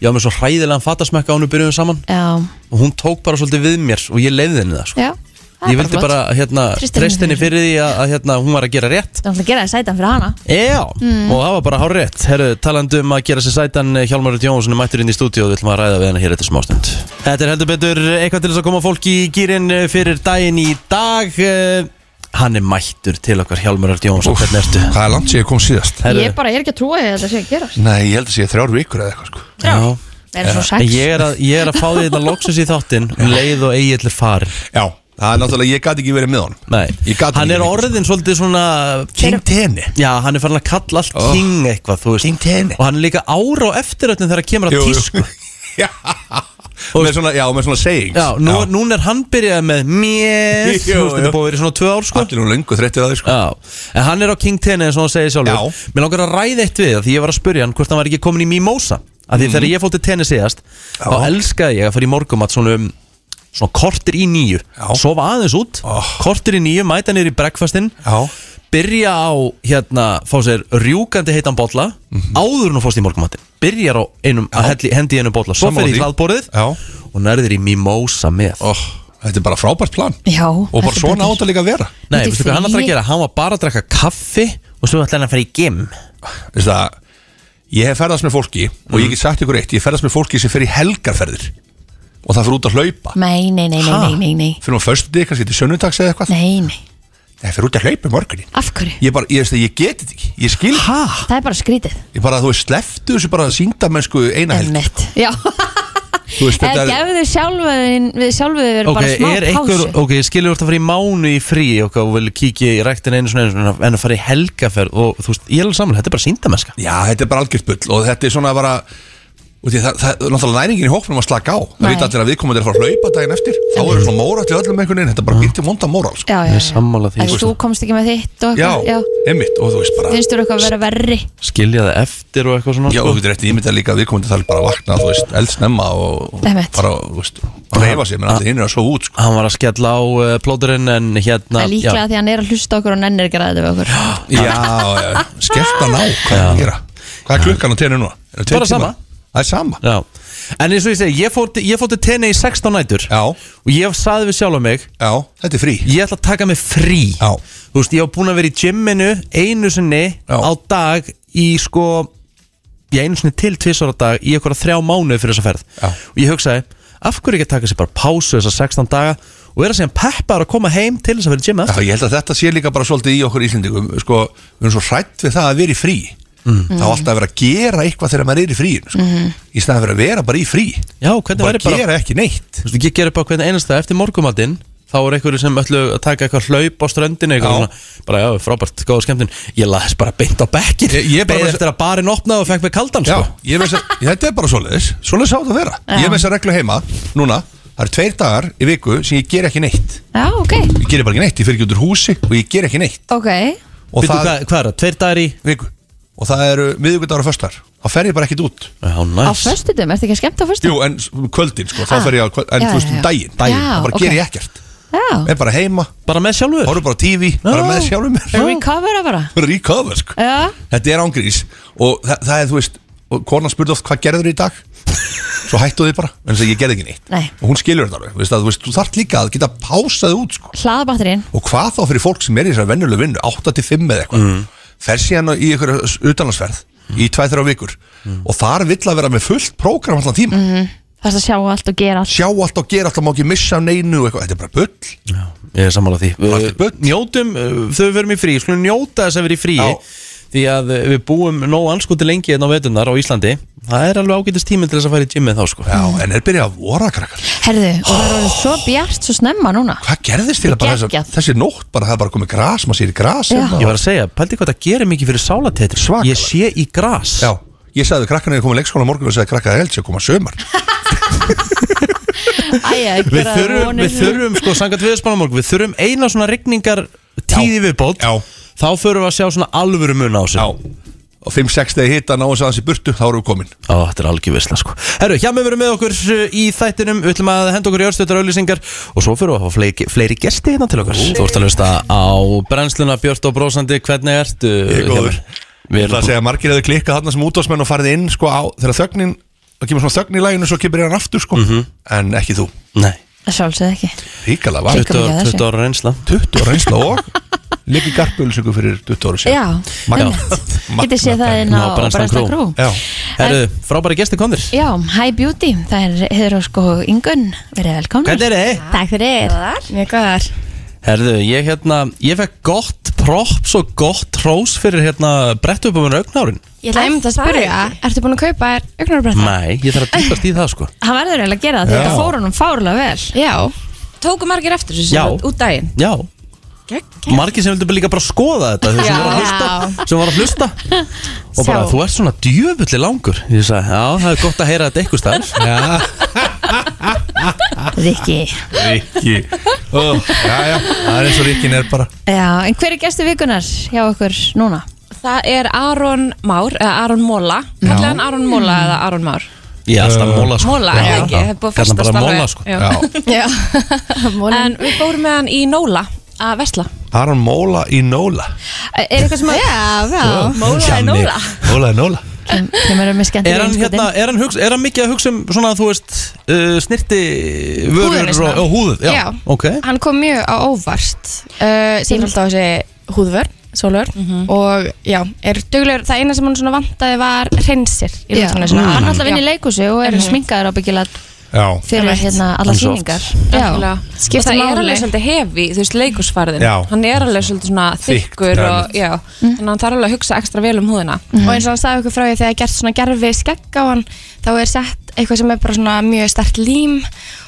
A: Ég var með svo hræðilegan fatasmekka á henni byrjuðum saman
B: Já,
A: Og hún tók bara svolítið við mér og ég leiði henni það sko.
B: já það er
A: Ég vildi
B: flott.
A: bara hérna,
B: Treysti henni
A: treyst henni fyrir því að, að hérna, hún var að gera rétt
B: Það er alltaf að gera það sætan fyrir hana
A: Já,
B: Mm.
A: og það var bara hár rétt Herru, talandi um að gera sér sætan eh, Hjálmar Rut Jónsson er mættur inn í stúdíu og við ætlum að ræða við hennar hér eftir smástund Þetta er heldur betur eitthvað til þess að koma fólki í gýrin fyrir daginn í dag Eh, Hann er mættur til okkar Hjálmar Rut Jónsson, hvernig ertu?
N: Hvað er langt sér ég kom síðast?
B: Ég bara er ekki að trúa því að þetta sé að gera
N: Nei, ég held að sé þrjár vikur eða eitthvað sko
A: Já
B: Er það svo sex?
A: Ég er að, ég er að fá því þetta loksins í þáttinn um leið og eigiðlir far
N: Já, það er náttúrulega, ég gæti ekki verið með honum
A: Nei, hann er orðin svolítið svona King
N: Tenni
A: sko. Já, hann er farin að kalla allt King eitthvað, þú veist King Tenni Og hann er líka ára og eftiröldin þegar það kemur að
N: Jú, jú.
A: tísku
N: með svona, já, með svona sayings
A: Já, nú, núna er hann byrjað með Mjess
N: Jú,
A: Þú veist, þetta
N: jú.
A: er búið að vera í svona tvö ár sko Allir
N: nú löngu þreyttið að þið
A: sko Já, en hann er á King 10 eins og hann segir sjálfur Já Mér langar að ræða eitt við það Því ég var að spurja hann hvort hann var ekki komin í Mimosa Af því
N: Mhm.
A: þegar ég fótt til tenni síðast Þá elskaði ég að fara í morgumat svona um Svona kortir í nýju Já Sofa aðeins út Kortir í nýju, mæta niður í breakfastin
N: Oh. Já
A: Byrja á, hérna, fá sér rjúkandi heitan bolla
N: Mhm.
A: Áður en þú fórst í morgumatin Byrjar á einum, að helli, hendi í einum bolla Svo
N: Sammála
A: fer í
N: því.
A: hlaðborðið
N: Já.
A: Og nærðir í mimosa með oh,
N: Þetta er bara frábært plan
B: Já
N: Og bara svona átt að líka að vera
A: Nei, veistu hvað hann ætlar að gera? Hann var bara að drekka kaffi og svo ætlar hann að fara í gym
N: Veistu það Ég hef ferðast með fólki Og
A: Mm.
N: ég get sagt ykkur eitt Ég hef ferðast með fólki sem fer í helgarferðir Og það fyrir út að hlaupa
B: Nei, nei, nei, nei,
N: Ha?
B: nei, nei, nei.
N: Fyrir á föstu dig, kannski til sönnudags eða eitthvað
B: Nei, nei
N: Það fyrir út að hlaupa í morgunin
B: Af hverju?
N: Ég, bara, ég, veist það, ég geti þetta ekki Ég skil Hæ?
B: Það er bara skrítið
N: Ég bara, þú veist, sleftu þessu bara sínda mennsku eina helg
B: Emmett Já,
N: Þú veist,
B: eða
N: þetta er
B: gefðu sjálfuðin við sjálfuðin
A: Sko, Ok,
B: bara smá
A: er einhver,
B: pásu
A: ok, skilur þú ert að fara í mánu í frí ok, og vil kíkja í ræktin einu svona einu svona en að fara í helgaferð og þú veist, ég er alveg saman, þetta er bara síndamesska
N: Já, þetta er bara algjört bull Og þetta er svona bara Úti, það, það, náttúrulega næringin í hóknum að slaka á Það
B: Nei.
N: vita allir að við komum til að fara að hlaupa daginn eftir Þá eru svona móra til öllum einhvern veginn Þetta er bara býtti vonda móra sko.
B: Já, já, já
A: Sammála
B: En þú komst ekki með þitt og
N: Já,
B: eitthvað
N: einmitt Og þú veist bara
B: Finnst þú eitthvað að vera verri?
A: skilja það eftir og eitthvað svona sko.
N: Já, þú getur eftir ímyndað líka að við komum til það bara að vakna Þú veist, eldsnemma og
B: Einmitt.
N: bara, þú veist, reyfa sig Menn allir hinn er að sofa út sko.
A: Hann var að skella á uh, plóturinn en hérna
B: Það er líklega því að hann er að hlusta okkur og nennir ekki að ræða við okkur
N: Já, já, já. skellta ná, hvað er að gera Hvað er klukkan á tenni núna? Er það tveir
A: Bara
N: tímar?
A: sama.
N: Það er sama
A: Já. En eins og ég segi, ég fór, til- ég fór til tenni í 16 nætur
N: Já.
A: Og ég saði við sjálf mig
N: Já, þetta er frí
A: Ég ætla að taka mig frí
N: Já.
A: Þú veist, ég var búin að vera í gymminu einu sinni á dag í sko Ég einu sinni til tvisar á dag í eitthvað þrjá mánuði fyrir þessa ferð Já. Og ég hugsaði, af hverju ekki að taka sér bara pásu þessa 16 daga Og vera síðan peppar að koma heim til þess að vera í gymmi
N: Já, ég held að þetta sé líka bara svolítið í okkur Íslendingum sko, við erum svo hrætt við það að vera í frí
A: Mm.
N: þá alltaf að vera að gera eitthvað þegar maður er í fríin sko.
O: Mhm.
N: í staðan fyrir að vera bara í frí
A: Já, hvernig
N: bara
A: væri bara
N: gera ekki neitt
A: Þú veist, ég ger upp á hvernig einasta eftir morgumatinn Þá er einhverju sem ætlu að taka eitthvað hlaup á ströndinu eitthvað svona, bara já, frábært, góða skemmtun Ég laðist bara beint á bekkin
N: Ég- ég bara-
A: Beið eftir að barinn opnaði og fekk mig kaldan
N: Já,
A: sko.
N: ég veist að, þetta er bara svoleiðis svoleiðis á þetta að vera
B: Já.
N: ég er með þess að reglu heima, núna það eru tveir dagar í viku sem ég ger ekki neitt
B: Já, ok,
N: ég ger bara ekki neitt, ég fyrir ekki út úr húsi og ég ger ekki neitt
B: ok
N: og
A: Bíddu, hvað- er það, tveir dagar í?
N: viku og það eru miðvíkudagur og föstar þá fer ég bara ekkit út
A: Já,
B: Á föstudum, ertu ekki að skemmta á föstudum?
N: Jú, en s- um kvöldin, sko, þá
B: Ah.
N: fer ég á kvöld, en
B: Já,
N: þú veist,
B: já,
N: um
B: já.
N: daginn,
B: Daginn. Já,
N: þá bara
B: ok.
N: ger ég ekkert
B: Já,
N: er bara heima
A: bara með sjálfur
N: horfum bara á TV, bara með sjálfur mér
B: recovera bara
N: bara recover sko.
B: Já,
N: þetta er ángrís og það, það er þú veist og konan spurði oft hvað gerður í dag svo hættu þið bara, en þess að ég gerði ekki neitt
B: nei,
N: og hún skilur þetta alveg, þú veist, að, þú veist, þú þarf líka að geta pásað út sko.
B: hlaða batterinn
N: og hvað þá fyrir fólk sem er í þessari vennuleg vinnu 8-5 eða eitthvað,
A: Mm.
N: fer síðan í ykkur utanlandsferð í 2-3 vikur
A: Mm.
N: og þar vill að vera með fullt prógram allan tíma,
B: mm, Það er að sjá allt og gera allt
N: sjá allt og gera allt og má ekki missa af neinu og eitthvað, þetta er bara bull
A: Ég er sammála því uh, Njótum, uh, þau verum í frí Skulum njóta þess að vera í frí Því að uh, við búum nóg anskoti lengi hérna á veturnar á Íslandi Það er alveg ágætist tími til þess að fara í gymmið þá sko
N: Já, en er byrjað að vora krakkar
B: Herðu, og það er orðið svo bjart svo snemma núna
N: Hvað gerðist þér bara þessi,
B: geggjað.
N: þessi nótt bara það er bara komið gras, maður sér í gras
B: Já.
N: hérna.
A: Ég var að segja, pældi hvað það gerir mikið fyrir sálatetri Svak Ég sé í gras
N: Já, ég sagði krakkarna þegar komið leikskóla á morgun og sagði krakkarna held sér koma sömar
B: Æja,
A: Við þurfum, við þurfum sko, sangat viðspánamorg Við þurfum eina svona rigningar tíði viðbót
N: Já
A: Þá förum við að sjá svona alvöru mun á þessu
N: Já Og 5-6 þegar hita náðu þess aðeins í burtu, þá erum við komin
A: Á, þetta er algjör visla sko Herru, hjá með verum með okkur uh, í þættinum Við ætlum að henda okkur í örstöðar auðlýsingar Og svo fyrir við að fá fleiri, fleiri gesti hérna til okkur Þú ert að hlusta á brennsluna Björn og Brósandi, hvernig ertu?
N: Ég er góður.
A: Við
N: Ég ætla
A: erum
N: að segja að margir hefur klikkað þarna sem útásmenn og farið inn sko á Þegar þögnin, það kemur svona þögn í læginu svo kemur hann aftur sko En ekki þú
A: Mhm. Nei
B: Sjálfsögð ekki
N: Ríkala,
B: Klikkar mikið á 20 þessu. 20
A: ára reynsla
N: 20 ára reynsla og Liggi garpjölusingu fyrir 20 ára
B: Já,
N: Magna.
B: getið séð það inn á Brennslan Crew.
A: Herru, frábæri gesti kondir
B: Já, hi beauty, það er hefur sko yngun, verið velkomnir
A: Hvernig eru þið?
B: Takk fyrir Góðar Mjög góðar
A: Herðu, ég hérna, ég fekk gott props og gott hrós fyrir hérna brettu upp um hennu augnárin
O: Ég ætla einmitt að spyrja, ertu búin að kaupa þér augnarbretta?
A: Nei, ég þarf að dýpast í það sko
B: Hann verður eiginlega að gera það,
A: Já.
B: þetta fór honum fárlega vel
O: Já Tóku margir eftir þessu
A: Já.
O: út daginn
A: Já, margir sem vildu bara líka bara skoða þetta Þau sem voru að hlusta, sem voru að hlusta Og bara,
O: Sjá.
A: þú ert svona djöfulli langur Ég sagði, já, það er gott að heyra þetta eitthvað staðar
B: Rikki
N: Rikki oh, Já, já, það er eins og Rikkin er bara
B: Já, en hver er gestur vikunar hjá okkur núna?
P: Það er Aron Már, eða Aron Móla Kallar hann Aron Móla eða Aron Már?
H: Ég er alltaf móla sko
P: Móla, er það ekki? Það er
A: Hérna
P: búið að
H: Kallar
P: festast
H: bara
P: alveg.
H: móla sko
P: Já. Já. en við fórum með hann í Nóla að vesla
N: Aron Móla í Nóla
B: Er eitthvað sem að Já,
N: Ó, Kjanni. Móla í Nóla
B: Kemur við með skemmtileg
H: Er hann, hérna, er, hann hugsa, er hann mikið að hugsa um svona þú veist uh, snirti vörur
O: Húðina
H: og, og húð? Já,
O: Já.
H: ok
O: Hann kom mjög á óvart uh, Sem er alltaf þessi húðvör Sólur
B: Mhm.
O: Og já, er duglegur Það eina sem hann svona vantaði var Rensir í
B: Já,
O: loftinu
H: Mm.
O: svona.
B: hann er alltaf
O: Já.
B: inn í leikhúsi og er
O: Mhm.
B: sminkaður ábyggilega
N: Já
B: fyrir hérna alla sýningar
P: Já,
O: Skipta
P: það er
O: máli.
P: alveg svolítið hefi, þú veist, leikusfarðin
O: Já.
P: Hann er alveg svolítið svona
O: Þykkt,
P: þykkur
O: já,
P: og, já, Þannig að hann þarf alveg að hugsa ekstra vel um húðina
O: Mhm. Og eins og hann sagði okkur frá því þegar gert svona gerfi skegg á hann Þá er sett eitthvað sem er bara svona mjög stert lím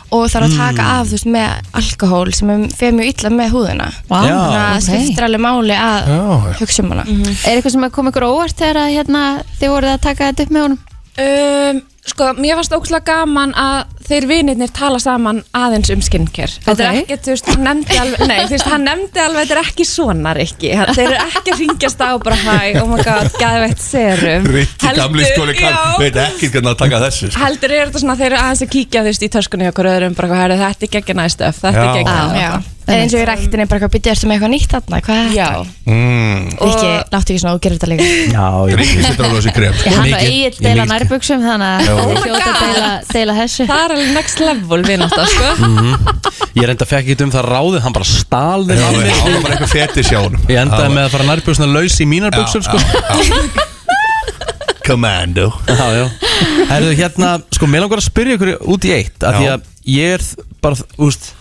O: Og þarf að taka
P: Mm.
O: af þú veist með alkohól Sem er fyrir mjög illa með húðina
B: Vá, Já,
O: Þannig að
B: ok.
O: skiptir alveg máli að
N: Já.
O: hugsa um
P: Mhm.
O: hana
B: Er eitthvað sem að kom ykkur á óvart þegar að, hérna, þið voruð að taka þetta upp með honum?
P: um, Sko, mér fannst ókslega gaman að þeir vinirnir tala saman aðeins um skincare Þetta er
O: Ok.
P: ekki, þú veist, hann nefndi alveg Nei, þú veist, hann nefndi alveg, þetta er ekki svona, Rikki Hann- Þeir eru ekki að ringjast á bara hæ, oh my god, gæðveitt serum
N: Rikki gamli
P: Heldur,
N: skóli kann
P: já.
N: Veit ekki hvernig að taka þessu sko.
P: Heldur er þetta svona þeir eru aðeins að kíkja þú veist í töskunni okkur öðrum bara hvað herri þetta er geggja næstöf þetta
N: Já.
P: er geggja
N: Já,
O: já. Eða eins og í ræktinni bara hvað byrja ertu með eitthvað nýtt þarna, hvað er þetta?
N: mm.
O: Rikki, láttu ekki svona, þú gerir þetta líka
H: Já,
N: já Rikki setur alveg þessi krem
B: Ég hann og Egil deila nærbuksum þannig
H: Já.
B: að
H: Oh
B: þið
H: my
B: hljóta að deila, deila þessu
P: Það er alveg next level við náttúrulega sko
H: Mhm. Ég er enda fekk ekki um það ráðið, hann bara stál þeim
N: Já,
H: af mér.
N: já, það var bara eitthvað fetis hjá honum.
H: Ég
N: Já.
H: endaði með að fara nærbjörsna laus í mínar
N: Já,
H: buksum sko
N: Commando
H: Já, já Herðu, hérna, sko, mér langar að spyrja ykkur út í eitt að Því að ég er bara, úst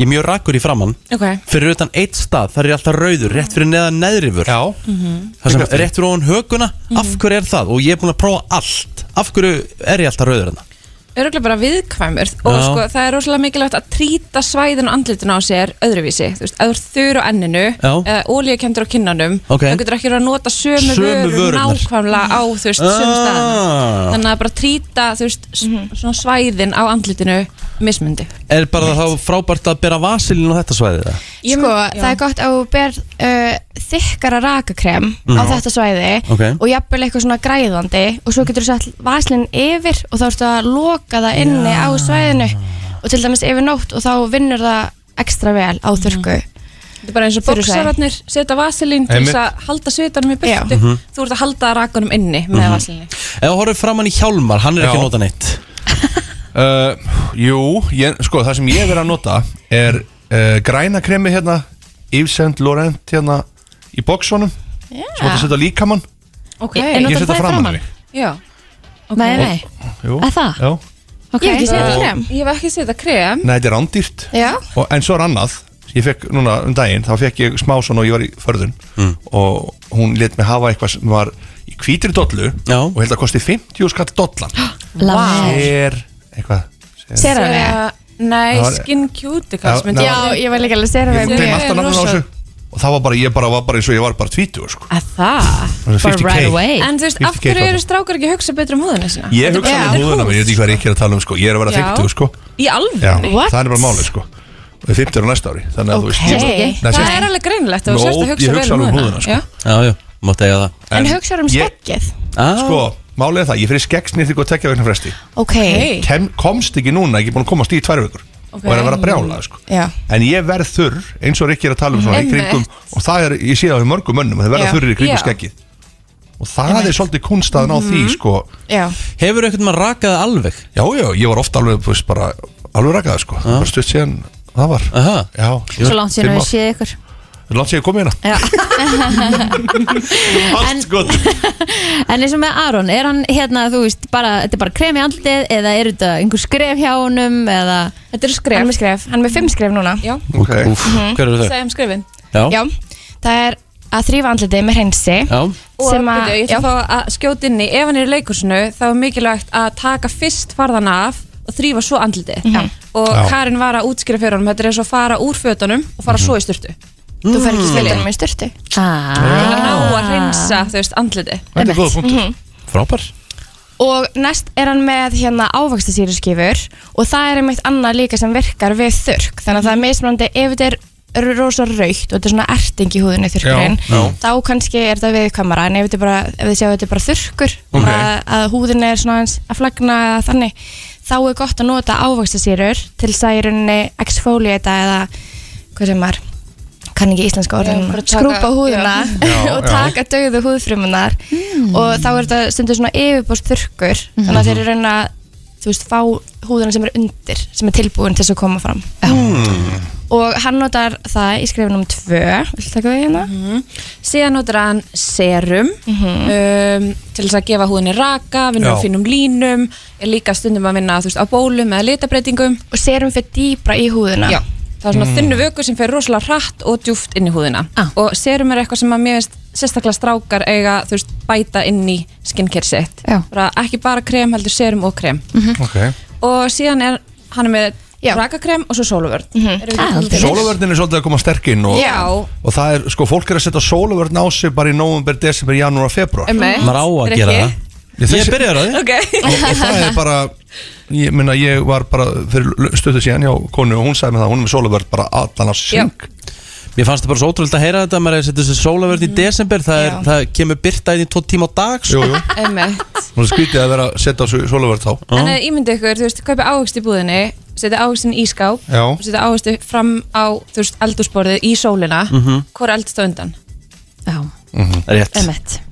H: Ég er mjög rakkur í framann
P: Ok
H: Fyrir utan eitt stað, þar er ég alltaf rauður Rétt fyrir neðan neðrifur Já
N: Mhm.
H: Það sem
N: Tekur eftir.
H: rétt fyrir ofan höguna, af hverju er það? Og ég er búin að prófa allt Af hverju er ég alltaf rauður hérna?
P: Öruglega bara viðkvæmur og
H: Já.
P: sko það er rosalega mikilvægt að trýta svæðin og andlitin á sér öðruvísi þú veist, ef þú ert þurr á enninu
H: Já.
P: eða ólíukendur á kinnanum
H: Ok.
P: þá getur ekki verið að nota sömu,
H: Sömu
P: vörur
H: vörurnar. Ah.
P: nákvæmlega á þú veist sömu staðan þannig að bara trýta þú veist s-
O: Mhm.
P: svona svæðin á andlitinu mismundi
H: Er bara þá frábært að bera vasilin á þetta svæðið það?
O: Sko, það er gott að þú ber uh, þykkara rakakrem á
H: Já.
O: þetta svæði
H: Ok.
O: og jafnvel eitthvað svona græðandi og svo getur þú sett vaslinn yfir og þá ertu að loka það inni á svæðinu og til dæmis yfir nótt og þá vinnur það ekstra vel á þurrku
P: Þetta er bara eins og
O: Fyrir
P: bóksararnir setja vaselín til
H: Einmitt.
P: þess að halda svitanum í burtu
H: Já. Mhm.
P: þú ert að halda rakunum inni með
H: Mhm.
P: vaselín
H: Ef þú horfir framann í Hjálmar, hann er ekki að nota neitt
N: Uh, jú, ég, sko það sem ég verið að nota er uh, græna kremi hérna Yves Saint Laurent hérna í bóksvonum sem átt að setja á líkamann
P: okay.
N: Ég- ég setja framan á mig.
P: Já okay.
B: Nei, nei,
N: Jú,
B: Er það?
N: Já.
B: ok
P: Ég hef ekki
N: Og-
P: setja krem Ég hef ekki setja krem
N: Nei, þetta er rándýrt
P: Já.
N: og, En svo er annað, ég fekk núna um daginn þá fekk ég smá svona og ég var í förðun og hún let mig hafa eitthvað sem var í hvítri dollu Já. og held að kosti 50 skall dollan
P: Vá.
N: Sér, eitthvað sér-
P: Sera- Nei,
N: Það var-
P: skin cuticles
N: Já,
P: myndi
N: já,
P: ég-
O: ég var líka alveg sér
N: Ég glem alltaf nafnum á þessu og það var bara, ég bara var bara eins og ég var bara tvítur sko.
P: Að það?
N: Það er 50K.
P: En þú veist, af
N: 50K
P: hverju eru
N: þarna.
P: strákar ekki að hugsa betur um húðina sína?
N: Ég hugsa um húðuna mér, ég veit ekki hvað ég er að tala um sko. Ég er að vera
P: Já.
N: 50 sko.
P: Í
N: Já,
P: alveg?
N: Það er bara málið sko. Og 50 er á næsta ári Þannig að þú veist
P: Hey.
N: Nei,
P: Það
N: sést-
P: er alveg greinlegt að þú
N: Nó,
P: sérst að
N: ég
P: hugsa vel
N: hugsa
P: um
N: alveg um
P: húðina
N: húðina,
P: Já.
H: Já, já, mátt eiga það
O: En hugsaðu um
N: ég-
O: skeggið?
H: Ah.
N: Sko, málið er það, ég fyrir skeggsnýtt og tekja vegna fresti
O: Ok,
N: Kem, Komst ekki núna, ekki búin að komast í tvær vikur
O: Ok.
N: Og er að vera brjála sko.
O: Já.
N: En ég verð þurr, eins og Rikki er að tala um svona í
O: Einmitt.
N: kringum, Og það er, ég sé það á mörgum mönnum að Þeir verða
O: Já.
N: þurrir í kringum
O: Já.
N: skeggið Og það er svolítið kunstaðan á því
O: Mhm.
N: sko.
O: já
H: Hefur eitthvað maður rakað alveg?
N: Já, já, ég var ofta alveg, þú veist, bara alveg rakaði, sko, bara stutt síðan það var
H: Ah. Aha.
N: Já,
B: Svo langt síðan við séð ykkur
N: Svo langt síðan komið hérna
B: en, en eins og með Aron Er hann hérna, þú veist, bara Þetta er bara krem í andlitið eða er þetta einhver skref hjá honum eða
O: Þetta er skref Hann er með skref, hann er með fimm skref núna
P: Já,
H: okay. Úf,
O: Mhm.
H: hver eru þau?
P: Segðum skrefin
H: Já.
O: já Það er að þrýfa andlitið með hreinsi
H: Já.
P: Og
O: Sem að-
P: byrju, ég ætla þá að skjóta inn í Ef hann er í leikursinu þá er mikilvægt að taka fyrst farðana af og þrýfa svo andlitið
O: Mhm.
P: Og
O: Já.
P: Karin var að útskýra fyrir honum Þetta er eins og að fara úr fötunum og fara svo í styrtu
O: Þú fer ekki um sveitinu með styrtu
B: ah.
P: Ná að hreinsa þú veist andlitið
N: Þetta er góða punktur.
O: Mhm.
N: Frábær
O: og næst er hann með hérna ávaxtasýruskifur og það er einmitt annað líka sem virkar við þurrk þannig að það er mismunandi ef þetta er r- rosa raukt og þetta er svona erting í húðinni þurrkurinn
P: Já, já.
O: þá kannski er þetta viðkvæmara en ef þetta er bara, ef þið sjáu að þetta er bara þurrkur
P: Ok.
O: að, að húðinni er svona eins að flagna eða þannig, þá er gott að nota ávaxtasýrur til særinni exfoliata eða hvað sem maður kann ekki íslenska orðin
Q: bara taka-
O: skrúpa húðina
Q: Já. Hmm.
O: og
Q: Já, já.
O: taka döðu húðfrumunar og þá er þetta stundur svona yfirbúst þurrkur
Q: Mhm.
O: þannig að þeir eru raun að þú veist, fá húðina sem er undir sem er tilbúin til þess að koma fram
P: Mm.
O: og hann notar það í skrifinum 2 viltu taka við hérna?
P: Síðan notar hann serum um, til þess að gefa húðinni raka, vinna
O: Mhm. Já.
P: á finnum línum, er líka stundum að vinna þú veist, á bólum eða litabreitingum.
O: Og serum fyrir dýbra í húðina.
P: Já, það er svona
O: Mm. Ah.
P: þunnu vöku sem fyrir rosalega hratt og djúft inn í húðina. Og serum er eitthvað sem að mér veist sérstaklega strákar eiga þú veist, bæta inn í skincare sitt. Bara, ekki bara krem, heldur serum og krem.
O: Mm.
N: okay.
P: Og síðan er hann er með rakakrem og svo sóluvörn.
O: Mhm.
P: Erum við
O: Ah,
P: ekki komin til þess?
N: Sólavörnin er svolítið að koma sterk inn og,
P: Já.
N: og það er, sko, fólk er að setja sólavörn á sig bara í nóvember, desember, janúar, februar
P: Einmitt. Maður á að gera Rikki? það.
N: Ég,
R: Ég byrjaði á því.
N: og,
P: Ok.
N: og það er bara ég, minna, ég var bara fyrir stöðu síðan hjá konu og hún sagði með það, hún er með sólavörn bara allan á sig
A: Mér fannst það bara svo ótrúlega að heyra þetta maður er að setja þessi sólaverð í desember það, er,
P: Já.
A: það kemur byrta inn í tvo tíma á dag sko.
N: Jú, jú,
P: Einmitt.
N: hún er skrítið að vera að setja á sig sólavörn þá
P: Þannig að ímyndi eh, ykkur, þú veist, kaupi ávegst í búðinni setja ávegstinn í skáp
N: Já.
P: og setja ávegsti fram á, þú veist, eldúsborðið í sólina, mm
A: Mhm.
P: hvor eldst á undan
A: Rétt
P: Emmett
N: Mhm.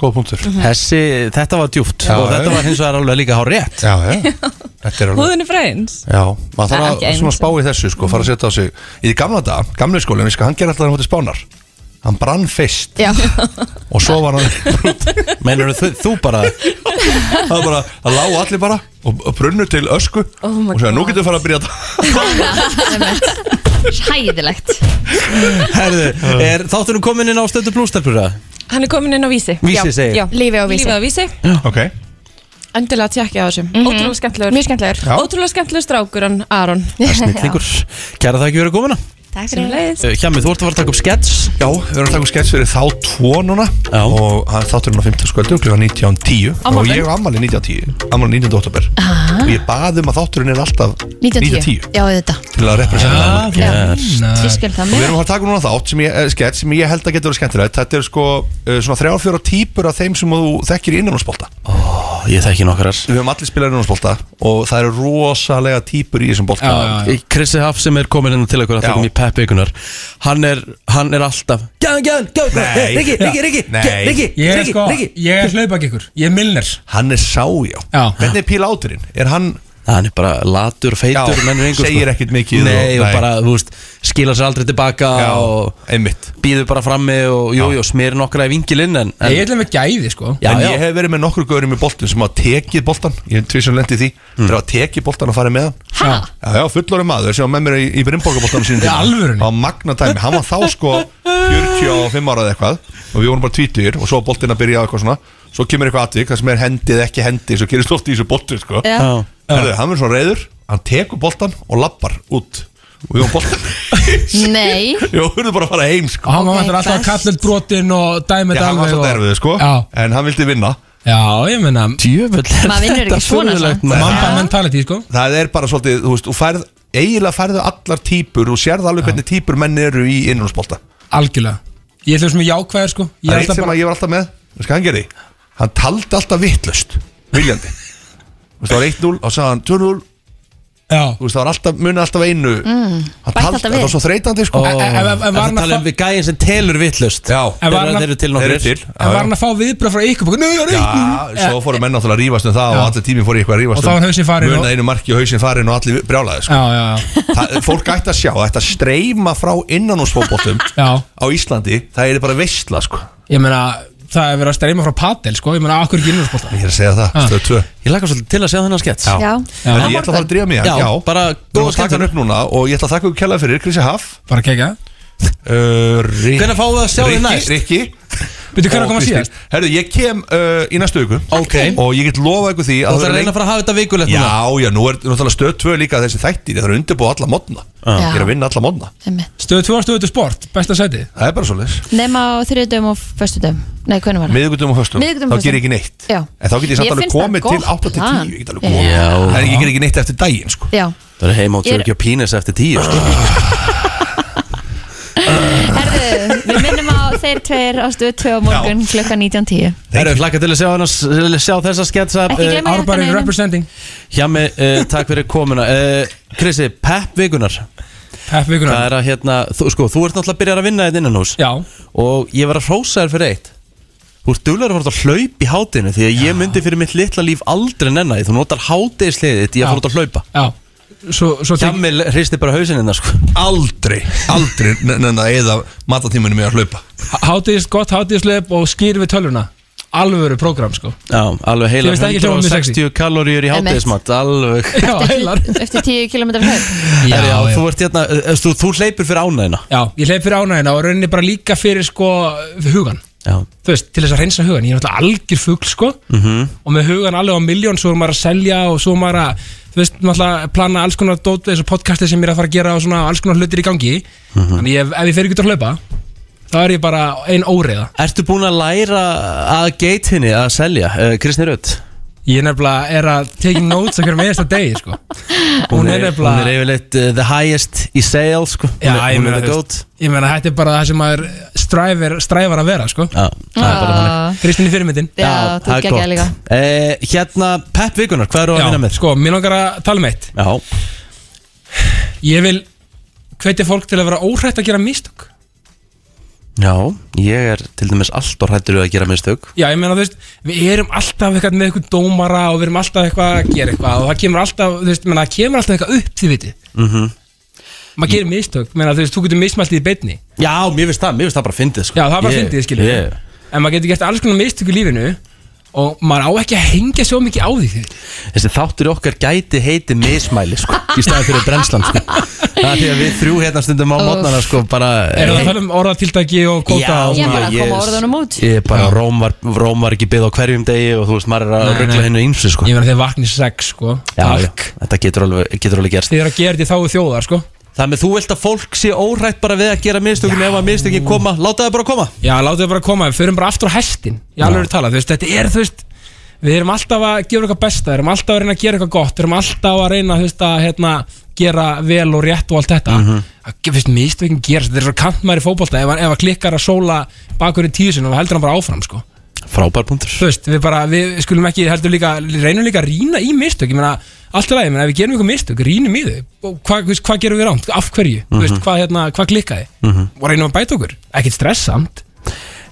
N: Góð punktur
P: Mhm.
A: Þessi, þetta var djúpt
N: Já,
A: og þetta
N: já.
A: var hins vegar alveg líka hár rétt
N: Já, já Þetta er alveg
P: Húðin er freins
N: Já, maður
P: Það er
N: þarf
P: ekki
N: að
P: eins
N: svona
P: og-
N: spá í þessu sko, fara að setja á sig Í því gamla dag, gamli skólinn, ég skal, hann ger alltaf hann hótti spánar Hann brann fyrst
O: Já.
H: Hmm.
N: og svo var hann Meinar þú, þú bara Það var bara, það lág allir bara og, og brunnu til ösku
B: Oh my
N: og svo nú
B: God.
N: getur við fara að byrja þetta
B: Hæðilegt
A: Herðu, er þáttunum komin inn á stöndu blústelpura?
P: Hann er komin inn á vísi
A: Vísi segir.
P: Lífi á vísi Lífi á vísi
N: Ok
P: Endilega tjekkja á þessum Ótrúlega skemmtilegur
O: Mjög skemmtilegur
A: Já.
P: Ótrúlega skemmtilegur strákur hann Aron
A: Snillingur Kæra það ekki verið komina
O: Takk
P: fyrir leiðis
A: Hjami, þú ert að fara að taka upp skets
N: Já, við erum að taka um skets fyrir þá tvo núna Já. og hann þáttur hann á 15 sköldu klukka 19.10 og
B: Afmæli.
N: ég á ammali 19.10 ammali 19. oktober
B: Ah.
N: og ég baði um að þátturinn er alltaf
B: 1910 Já, þetta
N: til að representa ammali.
B: Ég skil það
N: og við
B: með
N: erum að taka núna þátt sem ég, eh, skets sem ég held að geta verið skemmtilegt þetta er sko uh, svona þrjárfjóra típur af þeim sem þú þekkir í innanúrspolta
A: oh, Ég þekki nokkrar
N: Við höfum allir spilað innanúrspolta og það eru rosalega típur í þessum bolta
A: Krissi Haf sem er komin inn til okkur að þekkum í Peppi ykkurnar hann, er- hann er alltaf Gjæðan,
N: Nei.
A: gjæðan, gjæðan Riki, Riki, Riki,
N: Nei.
A: Riki,
N: Ég er
A: Riki,
N: sko-
A: Riki
C: Ég er hlaupa ekki ykkur, ég er Milner
N: Hann er sájá
C: Já
N: Hvernig er píl áturinn? Er hann
A: Hann er bara latur, feitur
N: Já,
A: mennur einhver,
N: segir ekkit mikið
A: sko. Nei,
N: og-
A: og
N: nei.
A: bara, þú veist, skila sér aldrei tilbaka Já, og
N: einmitt
A: Býður bara frammi og jú, jú, smýr nokkra í vingilinn en, en
C: Ég ætla með gæði sko
A: Já,
N: en
A: já.
N: ég hef verið með nokkur gaurum í boltin sem hafa tekið boltan Ég hef tvisum lendið því Það er að tekið boltan og farið með hann
C: Já.
N: Já, já, fullorinn maður sem var með mér í, í Brimborgaboltanum sínum
C: Í alvörunni?
N: Það var magna dæmi, hann var þá sko 45 ára eða eitthvað og við vorum bara tvítugir og svo boltin að byrja á eitthvað svona svo kemur eitthvað atvik, það sem er hendið ekki hendi svo gerist oft í þessu boltu sko
P: Já. Já.
N: Herðu, hann er svo reyður, hann tekur boltan og lappar út og við vorum boltan
B: Nei
N: Jó, hurðu bara að fara heim sko
C: Og hann var vantur alltaf að kalla upp brotin og dæmi
N: Já,
C: þetta
N: hann var
C: alveg
N: svo
C: og-
N: derfið sko
C: Já,
N: En hann vildi vinna
C: Já, ég menna
A: Djöfull
B: Maður vinnur ekki svona samt.
C: Mamba mentality sko
N: það er bara svolítið, þú veist, þú færð eiginlega færðu allar típur og sérðu alveg hvernig típur menn eru í innrónsbolta
C: Algjörlega Ég ætla sem ég jákvæður sko
N: það
C: ætla
N: er eitt sem
C: bara-
N: að ég var alltaf með, veist hvað hann gerði hann taldi alltaf vittlust, viljandi Þú veist, það var 1-0 og sagði hann 2-0
C: Já
N: Þú veist, það var alltaf, munið alltaf einu
B: Mm,
N: Hann
B: bætt
N: taldi-
B: alltaf
N: það
B: við
N: var svo þreytandi sko
A: Ó, en var hann að tala um við gæðin sem telur vittlust
N: Já,
C: En var hann að-
A: þeir eru til
N: Þeir
A: nokkrir
N: eru til,
C: En var hann að fá viðbröð frá ykkur Bara, Nei, ég er
N: Já,
C: eitt
N: svo fóru menn náttúrulega að rífast um það
C: Já.
N: og allir tíminn fór í eitthvað að rífast
C: Og þá var hausinn farinn og-
N: Munið einu marki og hausin farin og allir brjálaði sko.
C: Já, já, já
N: Það, fólk ætti að sjá, ætti að streyma frá innanúsfótboltum
C: Já.
N: á Íslandi, það er bara veistla sko.
C: Ég meina, það er verið að streyma frá padel sko Ég meina, akkur ekki innursporta
N: Ég er að segja það, stöð 2
A: Ég lakar svolítið til að sjá þennan skets
C: Já. Ah. Já.
N: En ég ætla að fara að drífa mig
A: Já, bara
N: góða skemmt upp núna og ég ætla að þakka ykkur kjærlega fyrir Krissi Haf
C: Bara kegja
N: uh, Rik,
A: Hvenær fáum við að sjá þig
N: Rikki-
A: næst?
N: Rikki
C: Bíddu, hvenær kom hann síðast?
N: Herðu, ég kem uh, í næstu viku okay. Og ég get lofað ykkur því
A: Þú ætlar að reyna að fara að hafa þetta vikulegt
N: Já,
A: núna?
N: já, nú er náttúrulega stöð 2 líka þessi þættir Það er undirbúið alla mótna
B: Já.
N: Ég er að vinna alla mótna
C: Stöðu 2 og stöðu til sport, besta sæti
N: Það er bara svo leis
B: Nefna á þriðdöfum og föstudöfum Nei, hvernig var það?
N: Miðugundum og höstum,
B: Miðvikudögum
N: þá
B: og
N: ger ég ekki
B: föstudögum.
N: neitt
B: Já.
N: En þá get ég samt alveg
B: finnst það
N: komið til
B: gott
N: 8 til
B: plan.
N: 10 Ég get alveg komið En ég ger ekki neitt eftir daginn sko.
B: Já,
A: Það er heima á
B: Ég er-
A: Tjörgjá Pínes eftir tíu sko.
B: herðu, við minnum á þeir tveir á stöðu tvö á morgun klukkan 19.10
A: Það eru hlakka til að sjá, hana, sjá þessa eh, sketsa
B: Ekki gleyma jakkanum Árbærinn einum.
C: representing
A: Hjami, uh, takk fyrir komuna uh, Krissi, Pepp Vigunar
C: Pepp Vigunar
A: Það er að hérna, þú, sko, þú ert náttúrulega að byrja að vinna þetta innan hús
C: Já
A: Og ég var að hrósa þér fyrir eitt Þú ert duglegur að fara út að hlaupa í hátinu Því að ég myndi fyrir mitt litla líf aldrei nenna því Þú notar hátisliðið þitt í að fara út að hlaupa
C: Já Svo, svo
A: Hjami hristi bara hausinn hennar sko
N: Aldrei, aldrei Nennan að eða matatímunum ég að hlaupa
C: Hátíðis, gott hátíðisleip og skýr við tölvuna Alvöru prógram sko
A: Já, alveg
C: Ég
A: heila
C: veist ekki hljóma mjög sexy.
A: 160 kaloríur í
B: Einmitt.
A: hátismat Alveg
C: Já, heilar
B: Eftir 10 km hlaup
A: já, já, Þú, ert hérna, eh, þú, þú hleypur fyrir ánæðina
C: Já, ég hleyp fyrir ánægina og rauninni bara líka fyrir sko hugan
A: Já.
C: Þú veist, til þess að reynsa hugan Ég er náttúrulega algjör fugl sko
A: Mhm.
C: -hmm. og með hugan alveg á miljón svo er maður að selja og svo er maður að þú veist, náttúrulega plana alls konar dót þessu podcasti sem ég er að fara að gera og svona alls konar hlutir í gangi þannig ég, ef ég fer ekki út að hlaupa þá er ég bara ein óreiða
A: Ertu búin að læra að geit henni að selja, uh, Kristi Rödd?
C: Ég nefnilega er að take notes okkur með þess að degi sko
A: Hún
C: er
A: er,
C: nefnilega-
A: hún er yfirleitt uh, the highest í sales sko.
C: Já,
A: hún er,
C: ég
A: hún
C: meina
A: er the
C: þú
A: goat
C: veist, Ég meina þetta er bara það sem maður stræfir, stræfar að vera sko
A: Já, það er bara þannig.
C: Kristín í fyrirmyndin
B: Ah. Já, Já, þú það er geggjaði gott.
A: Eh, Hérna, Pepp Vigunar, hvað eru að vinna með?
C: Sko, mér langar að tala með eitt
A: Já,
C: Ég vil hvetja fólk til að vera óhrætt að gera mistök
A: já, ég er til dæmis allt og hrættur við að gera mistök
C: Já, ég meina þú veist, við erum alltaf eitthvað með eitthvað dómara og við erum alltaf eitthvað að gera eitthvað og það kemur alltaf, þú veist, ég meina, það kemur alltaf eitthvað upp, þið viti
A: mm
C: Maður gerir mistök, ég meina, þú veist, þú getur mismælt í beinni
A: Já, mér finnst það, mér finnst það bara fyndið sko.
C: Já, það er bara
A: Ég-
C: fyndið, skilur við.
A: ég-
C: En maður getur gert alls konar mistök í lífinu og maður á ekki að hengja svo mikið á því þið
A: Þessi þáttur okkar gæti heiti mismæli sko, í staðan fyrir brennslan sko. Það er því að við þrjú hérna stundum á
C: Úff.
A: mótnana sko, bara,
C: Erum við að tala um orðatiltæki og
A: Já,
C: kvóta og
A: ég
C: svona?
A: ég- Ég er bara, Róm var, Róm var ekki byggð á hverjum degi og þú veist, maður er að
C: Nei,
A: ruggla
C: nei.
A: hennu einsu sko.
C: Ég meina þeir vakni sex sko
A: Já, já, þetta getur alveg, getur alveg gerst
C: Þið eru að gera þetta í þáu þjóðar sko
A: Þannig að þú vilt að fólk sé órætt bara við að gera mistökin ef að mistökin koma, láta það bara koma
C: Já, láta þau bara koma, við förum bara aftur á hestin Ég alveg er talað, þú veist, þetta er, þú veist Við erum alltaf að gefa eitthvað besta, við erum alltaf að reyna að gera eitthvað gott Við erum alltaf að reyna, þú veist, að hérna, gera vel og rétt og allt þetta mm
A: Mhm.
C: -hmm. Þú veist, mistökin gerast, þetta er svo kantmæri fótbolta Ef, hann- ef að klikkar að sóla bakur í tíu sinum, þá heldur hann bara áfram, sko
A: Frábær punktur
C: Þú veist, við bara, við skulum ekki, heldur líka, reynum líka að rýna í mistök Ég meina, allt í lagi, ég meina, ef við gerum eitthvað mistök, rýnum í þau Og hvað, þú veist, hvað gerum við rámt, af hverju, þú veist,
A: Mhm.
C: hvað, hérna, hvað klikkaði Og reynum að bæta okkur, ekkert stressamt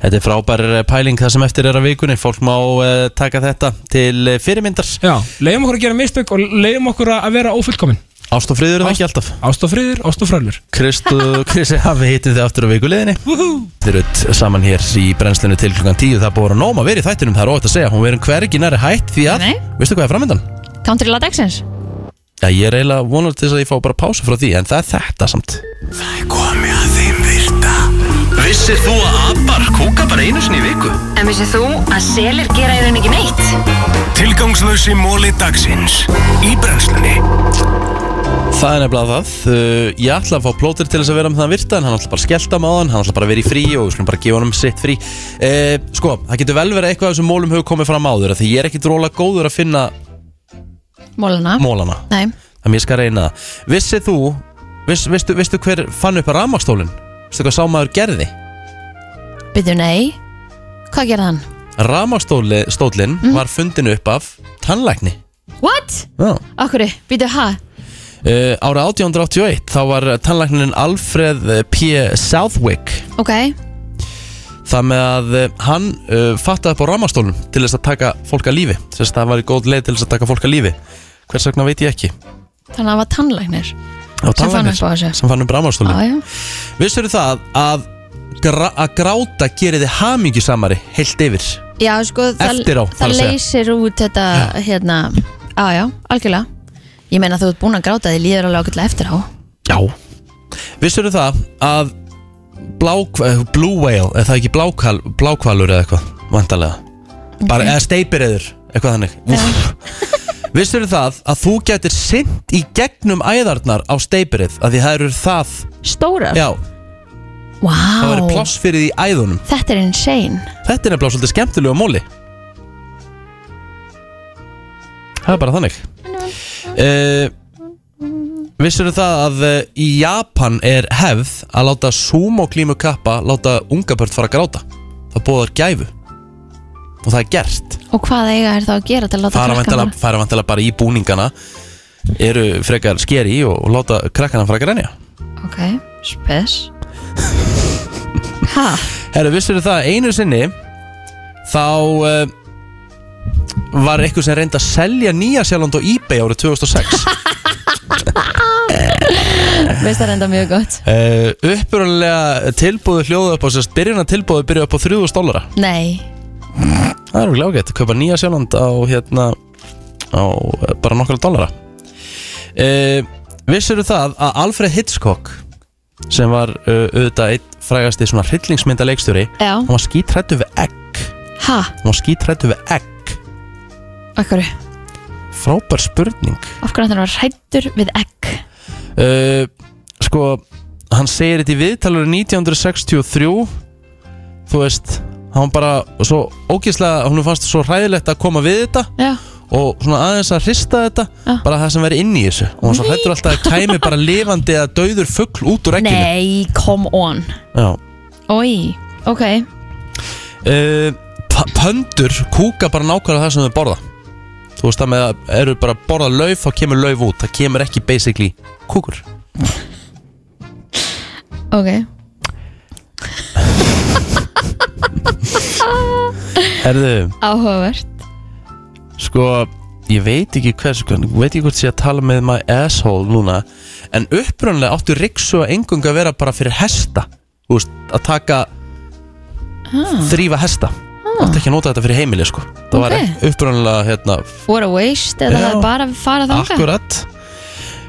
A: Þetta er frábær eh, pæling það sem eftir er að vikunni Fólk má uh, taka þetta til eh, fyrirmyndar
C: Já, leiðum okkur að gera mistök og leiðum okkur að vera ófullkomin
A: Ást og friður er það ekki alltaf
C: Ást og friður, ást og frölur
A: Kristu, Kristi, já, við hittum þið aftur á vikuleginni Þið erutt saman hér í brennslinu til klukkan 10 Það er búið að nóma verið í þættinum, það er óvægt að segja Hún verið hvergi næri hætt því að,
B: Nei.
A: veistu hvað er framöndan?
B: Country Latexins
A: Já, ég er eiginlega vonar til þess að ég fá bara pása frá því En það er þetta samt
E: Komið að þeim virta Vissir þú að abar kúka bara einu sinni í viku?
S: En vissið þú að selir gera í rauninni ekki neitt?
E: Tilgangslösi móli dagsins Í brennslunni
A: Það er nefnilega það, Uh, ég ætla að fá plótir til þess að vera með þann virta en hann ætla bara að skellta með hann, hann ætla bara að vera í frí og við skulum bara gefa honum sitt frí uh, Sko, það getur vel verið að eitthvað af þessum mólum hefur komið fram áður af því ég er ekkit róla góður að finna
B: Mólana
A: mólana
B: Nei,
A: þannig að ég skal reyna það Vissið þú, viss, veistu, veistu hver fann upp að rafmagstólin? Veistu hvað sámaður gerði?
B: byrju nei Hvað gerði hann?
A: Rafmagstólin var fundin upp af tannlækni
B: What?
A: Já
B: Akkur, byrju ha?
A: Uh, árið 1881 þá var tannlæknin Alfred P. Southwick
B: Ok,
A: Það með að eh, hann uh, fattaði upp á ramastólum til þess að taka fólk að lífi Sérst það var í góð leið til þess að taka fólk að lífi Hvers vegna veit ég ekki
B: þannig að það var tannlæknir
A: Á
B: Sem fann
A: tannlæknir
B: upp á þessu.
A: Sem fann upp
B: Já, já.
A: ramastólum Vissur það að, gra að gráta gerir þið hamingjusamari heilt yfir
B: Já, sko, það,
A: Eftir á, þarf
B: það
A: að segja.
B: leysir út þetta, hérna, á, já, algjörlega. Ég meina þú ert búin að gráta því líður alveg ákveðlega eftir á.
A: Já Vissur það að blá, eh, blue whale, er það ekki blákal, blákvalur eða eitthvað, vantarlega bara, eða steipireður, eitthvað þannig Úff. Vissirðu það að þú getur sint í gegnum æðarnar á steipirið, að því það eru það
B: Stórar?
A: Já,
B: Vá,
A: það verður pláss fyrir því í æðunum
B: þetta er insane
A: Þetta er nefnilega svolítið skemmtilegu á móli Það er bara þannig uh, Vissirðu það að eh, í Japan er hefð að láta sumoklímu kappa láta unga börn fara að gráta Það bóðar gæfu og það er gert
B: Og hvað eiga er þá að gera til að láta
A: fara
B: krakkann
A: vantala, fara vantala bara í búningana eru frekar skeri og, og láta krakkana fara að grænja
B: bara- Ok, spes Ha,
A: Herru, vissur það einu sinni þá uh, var eitthvað sem reyndi að selja Nýja Sjálfland á eBay árið 2006
B: veist það er enda mjög gott
A: uh, uppurlega tilbúðu hljóðu upp á sérst byrjuna tilbúðu byrjuðu upp á 3000 dólara
B: Nei,
A: það er okkur ágætt, kaupa Nýja Sjálfland á hérna á eh, bara nokkala dólara uh, vissur það að Alfred Hitchcock sem var uh, auðvitað einn frægasti svona hryllingsmynda leikstjóri
B: Já.
A: hann var skítrættu við egg
B: ha,
A: hann var skítrættu við egg
B: okkur
A: frábær spurning
B: Af hverju þannig var hrættur við egg
A: uh, sko, hann segir þetta í viðtalur 1963 þú veist, hann bara svo ógíslega, hún fannst svo hræðilegt að koma við þetta
B: Já.
A: og svona aðeins að hrista þetta bara það sem veri inn í þessu og hann svo hrættur alltaf að kæmi bara lifandi eða dauður fuggl út úr ekkinu
B: Nei, come on
A: Já.
B: Ói, ok
A: Uh, p- pöndur kúka bara nákvæmlega það sem þau borða þú veist það með að eru bara að borða lauf þá kemur lauf út, það kemur ekki basically kúkur
B: Ok
A: Herðu,
B: Áhugavert
A: sko ég veit ekki hvers, ég veit ekki hvort sé að tala með my asshole núna en upprunlega áttu riksu að engung að vera bara fyrir hesta þú veist, að taka
B: Ah.
A: þrýfa hesta áttu ekki að nota þetta fyrir heimili sko það
B: Ok.
A: var upprunlega hérna
B: What a waste eða
A: Já.
B: það er bara farað þangað
A: akkurat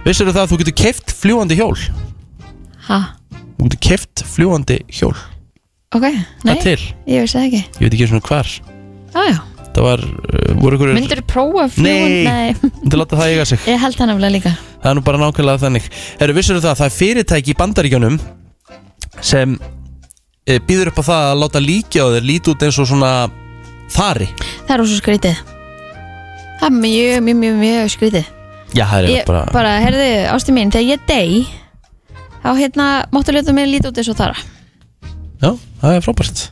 A: vissir það að þú getur keift fljúandi hjól þú
B: Ha,
A: getur keift fljúandi hjól
B: ok, nei
A: Það er til.
B: Ég veist það ekki
A: ég veit ekki eins og hvar
B: Jájá,
A: það var, uh, voru ykkur
B: myndur prófa að
A: Nei.
B: fljúga Nei,
A: myndir láta það eiga sig
B: ég held það nefnilega líka
A: Það er nú bara nákvæmlega þannig Herru, vissur það að það er fyrirtæki í bandaríkjunum sem e, býður upp á það að láta líkja og þeir líti út eins og svona þari
B: Það er ósvo skrítið Það er mjög, mjög, mjög, mjög skrítið
A: Já, það er
B: Ég
A: bara,
B: bara, herðu, ástu mín, þegar ég dey þá hérna máttu ljóta mig lítið út eins og þara
A: Já, það er frábært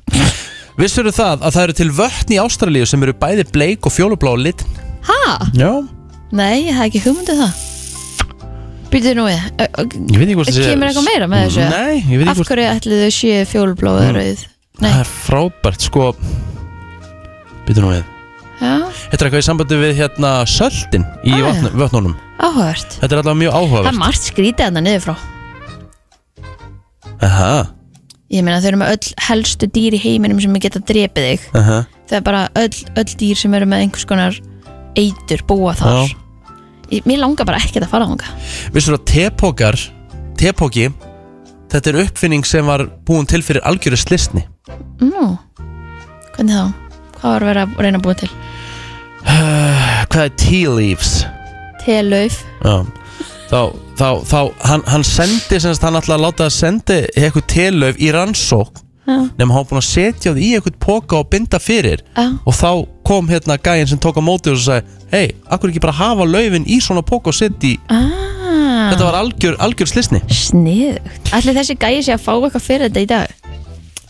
A: Vissur það að það eru til vötn í Ástralíu sem eru bæði bleik og fjólublá á litin
B: Ha?
A: Já
B: Nei, ég hafði ekki hugmyndið það Býtu nú við Ö, ö,
A: Ég veit ekki hvort það sé-
B: Kemur eitthvað meira með þessu?
A: Nei, ég veit ekki
B: Af
A: hvort-
B: hverju ætli þau séu fjólblóðu
A: Mm.
B: rauð?
A: Það er frábært, sko Býtu nú við
B: Já,
A: Þetta er eitthvað í sambandi við hérna söltin í
B: Ah, já.
A: ah, vötnunum
B: áhört
A: Þetta er allavega mjög
B: Það er
A: áhugavert
B: margt skrítið hann niður frá
A: Aha,
B: Ég meina þau eru með öll helstu dýr í heiminum sem geta drepið þig
A: aha
B: Það er bara öll, öll dýr sem eru með einhvers konar eitur búa þar
A: Já.
B: ég, Mér langar bara ekkert að fara þangað
A: Vissur að tepókar Tepóki Þetta er uppfinning sem var búin til fyrir algjöru slisni
B: Nú, hvernig þá? Hvað var að vera að reyna að búa til?
A: Hvað er tea leaves?
B: Telauf
A: Já Þá, þá, þá hann, hann sendi semst, hann ætlaði að láta að sendi eitthvað telöf í rannsók
B: Já.
A: nema hann var búin að setja það í eitthvað póka og binda fyrir
B: Já.
A: og þá kom hérna gæinn sem tók á móti og sagði, hei, akkur ekki bara hafa löfin í svona póka og setja í
B: ah,
A: þetta var algjör, algjör slisni
B: Sniðugt Ætli þessi gæi sé að fá eitthvað fyrir þetta í dag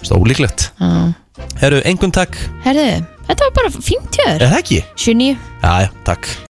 A: Stólíklegt
B: Já.
A: Herru, engum takk,
B: Herðu, þetta var bara fínt hjá
A: er
B: þér
A: það ekki?
B: 79
A: Jæja, takk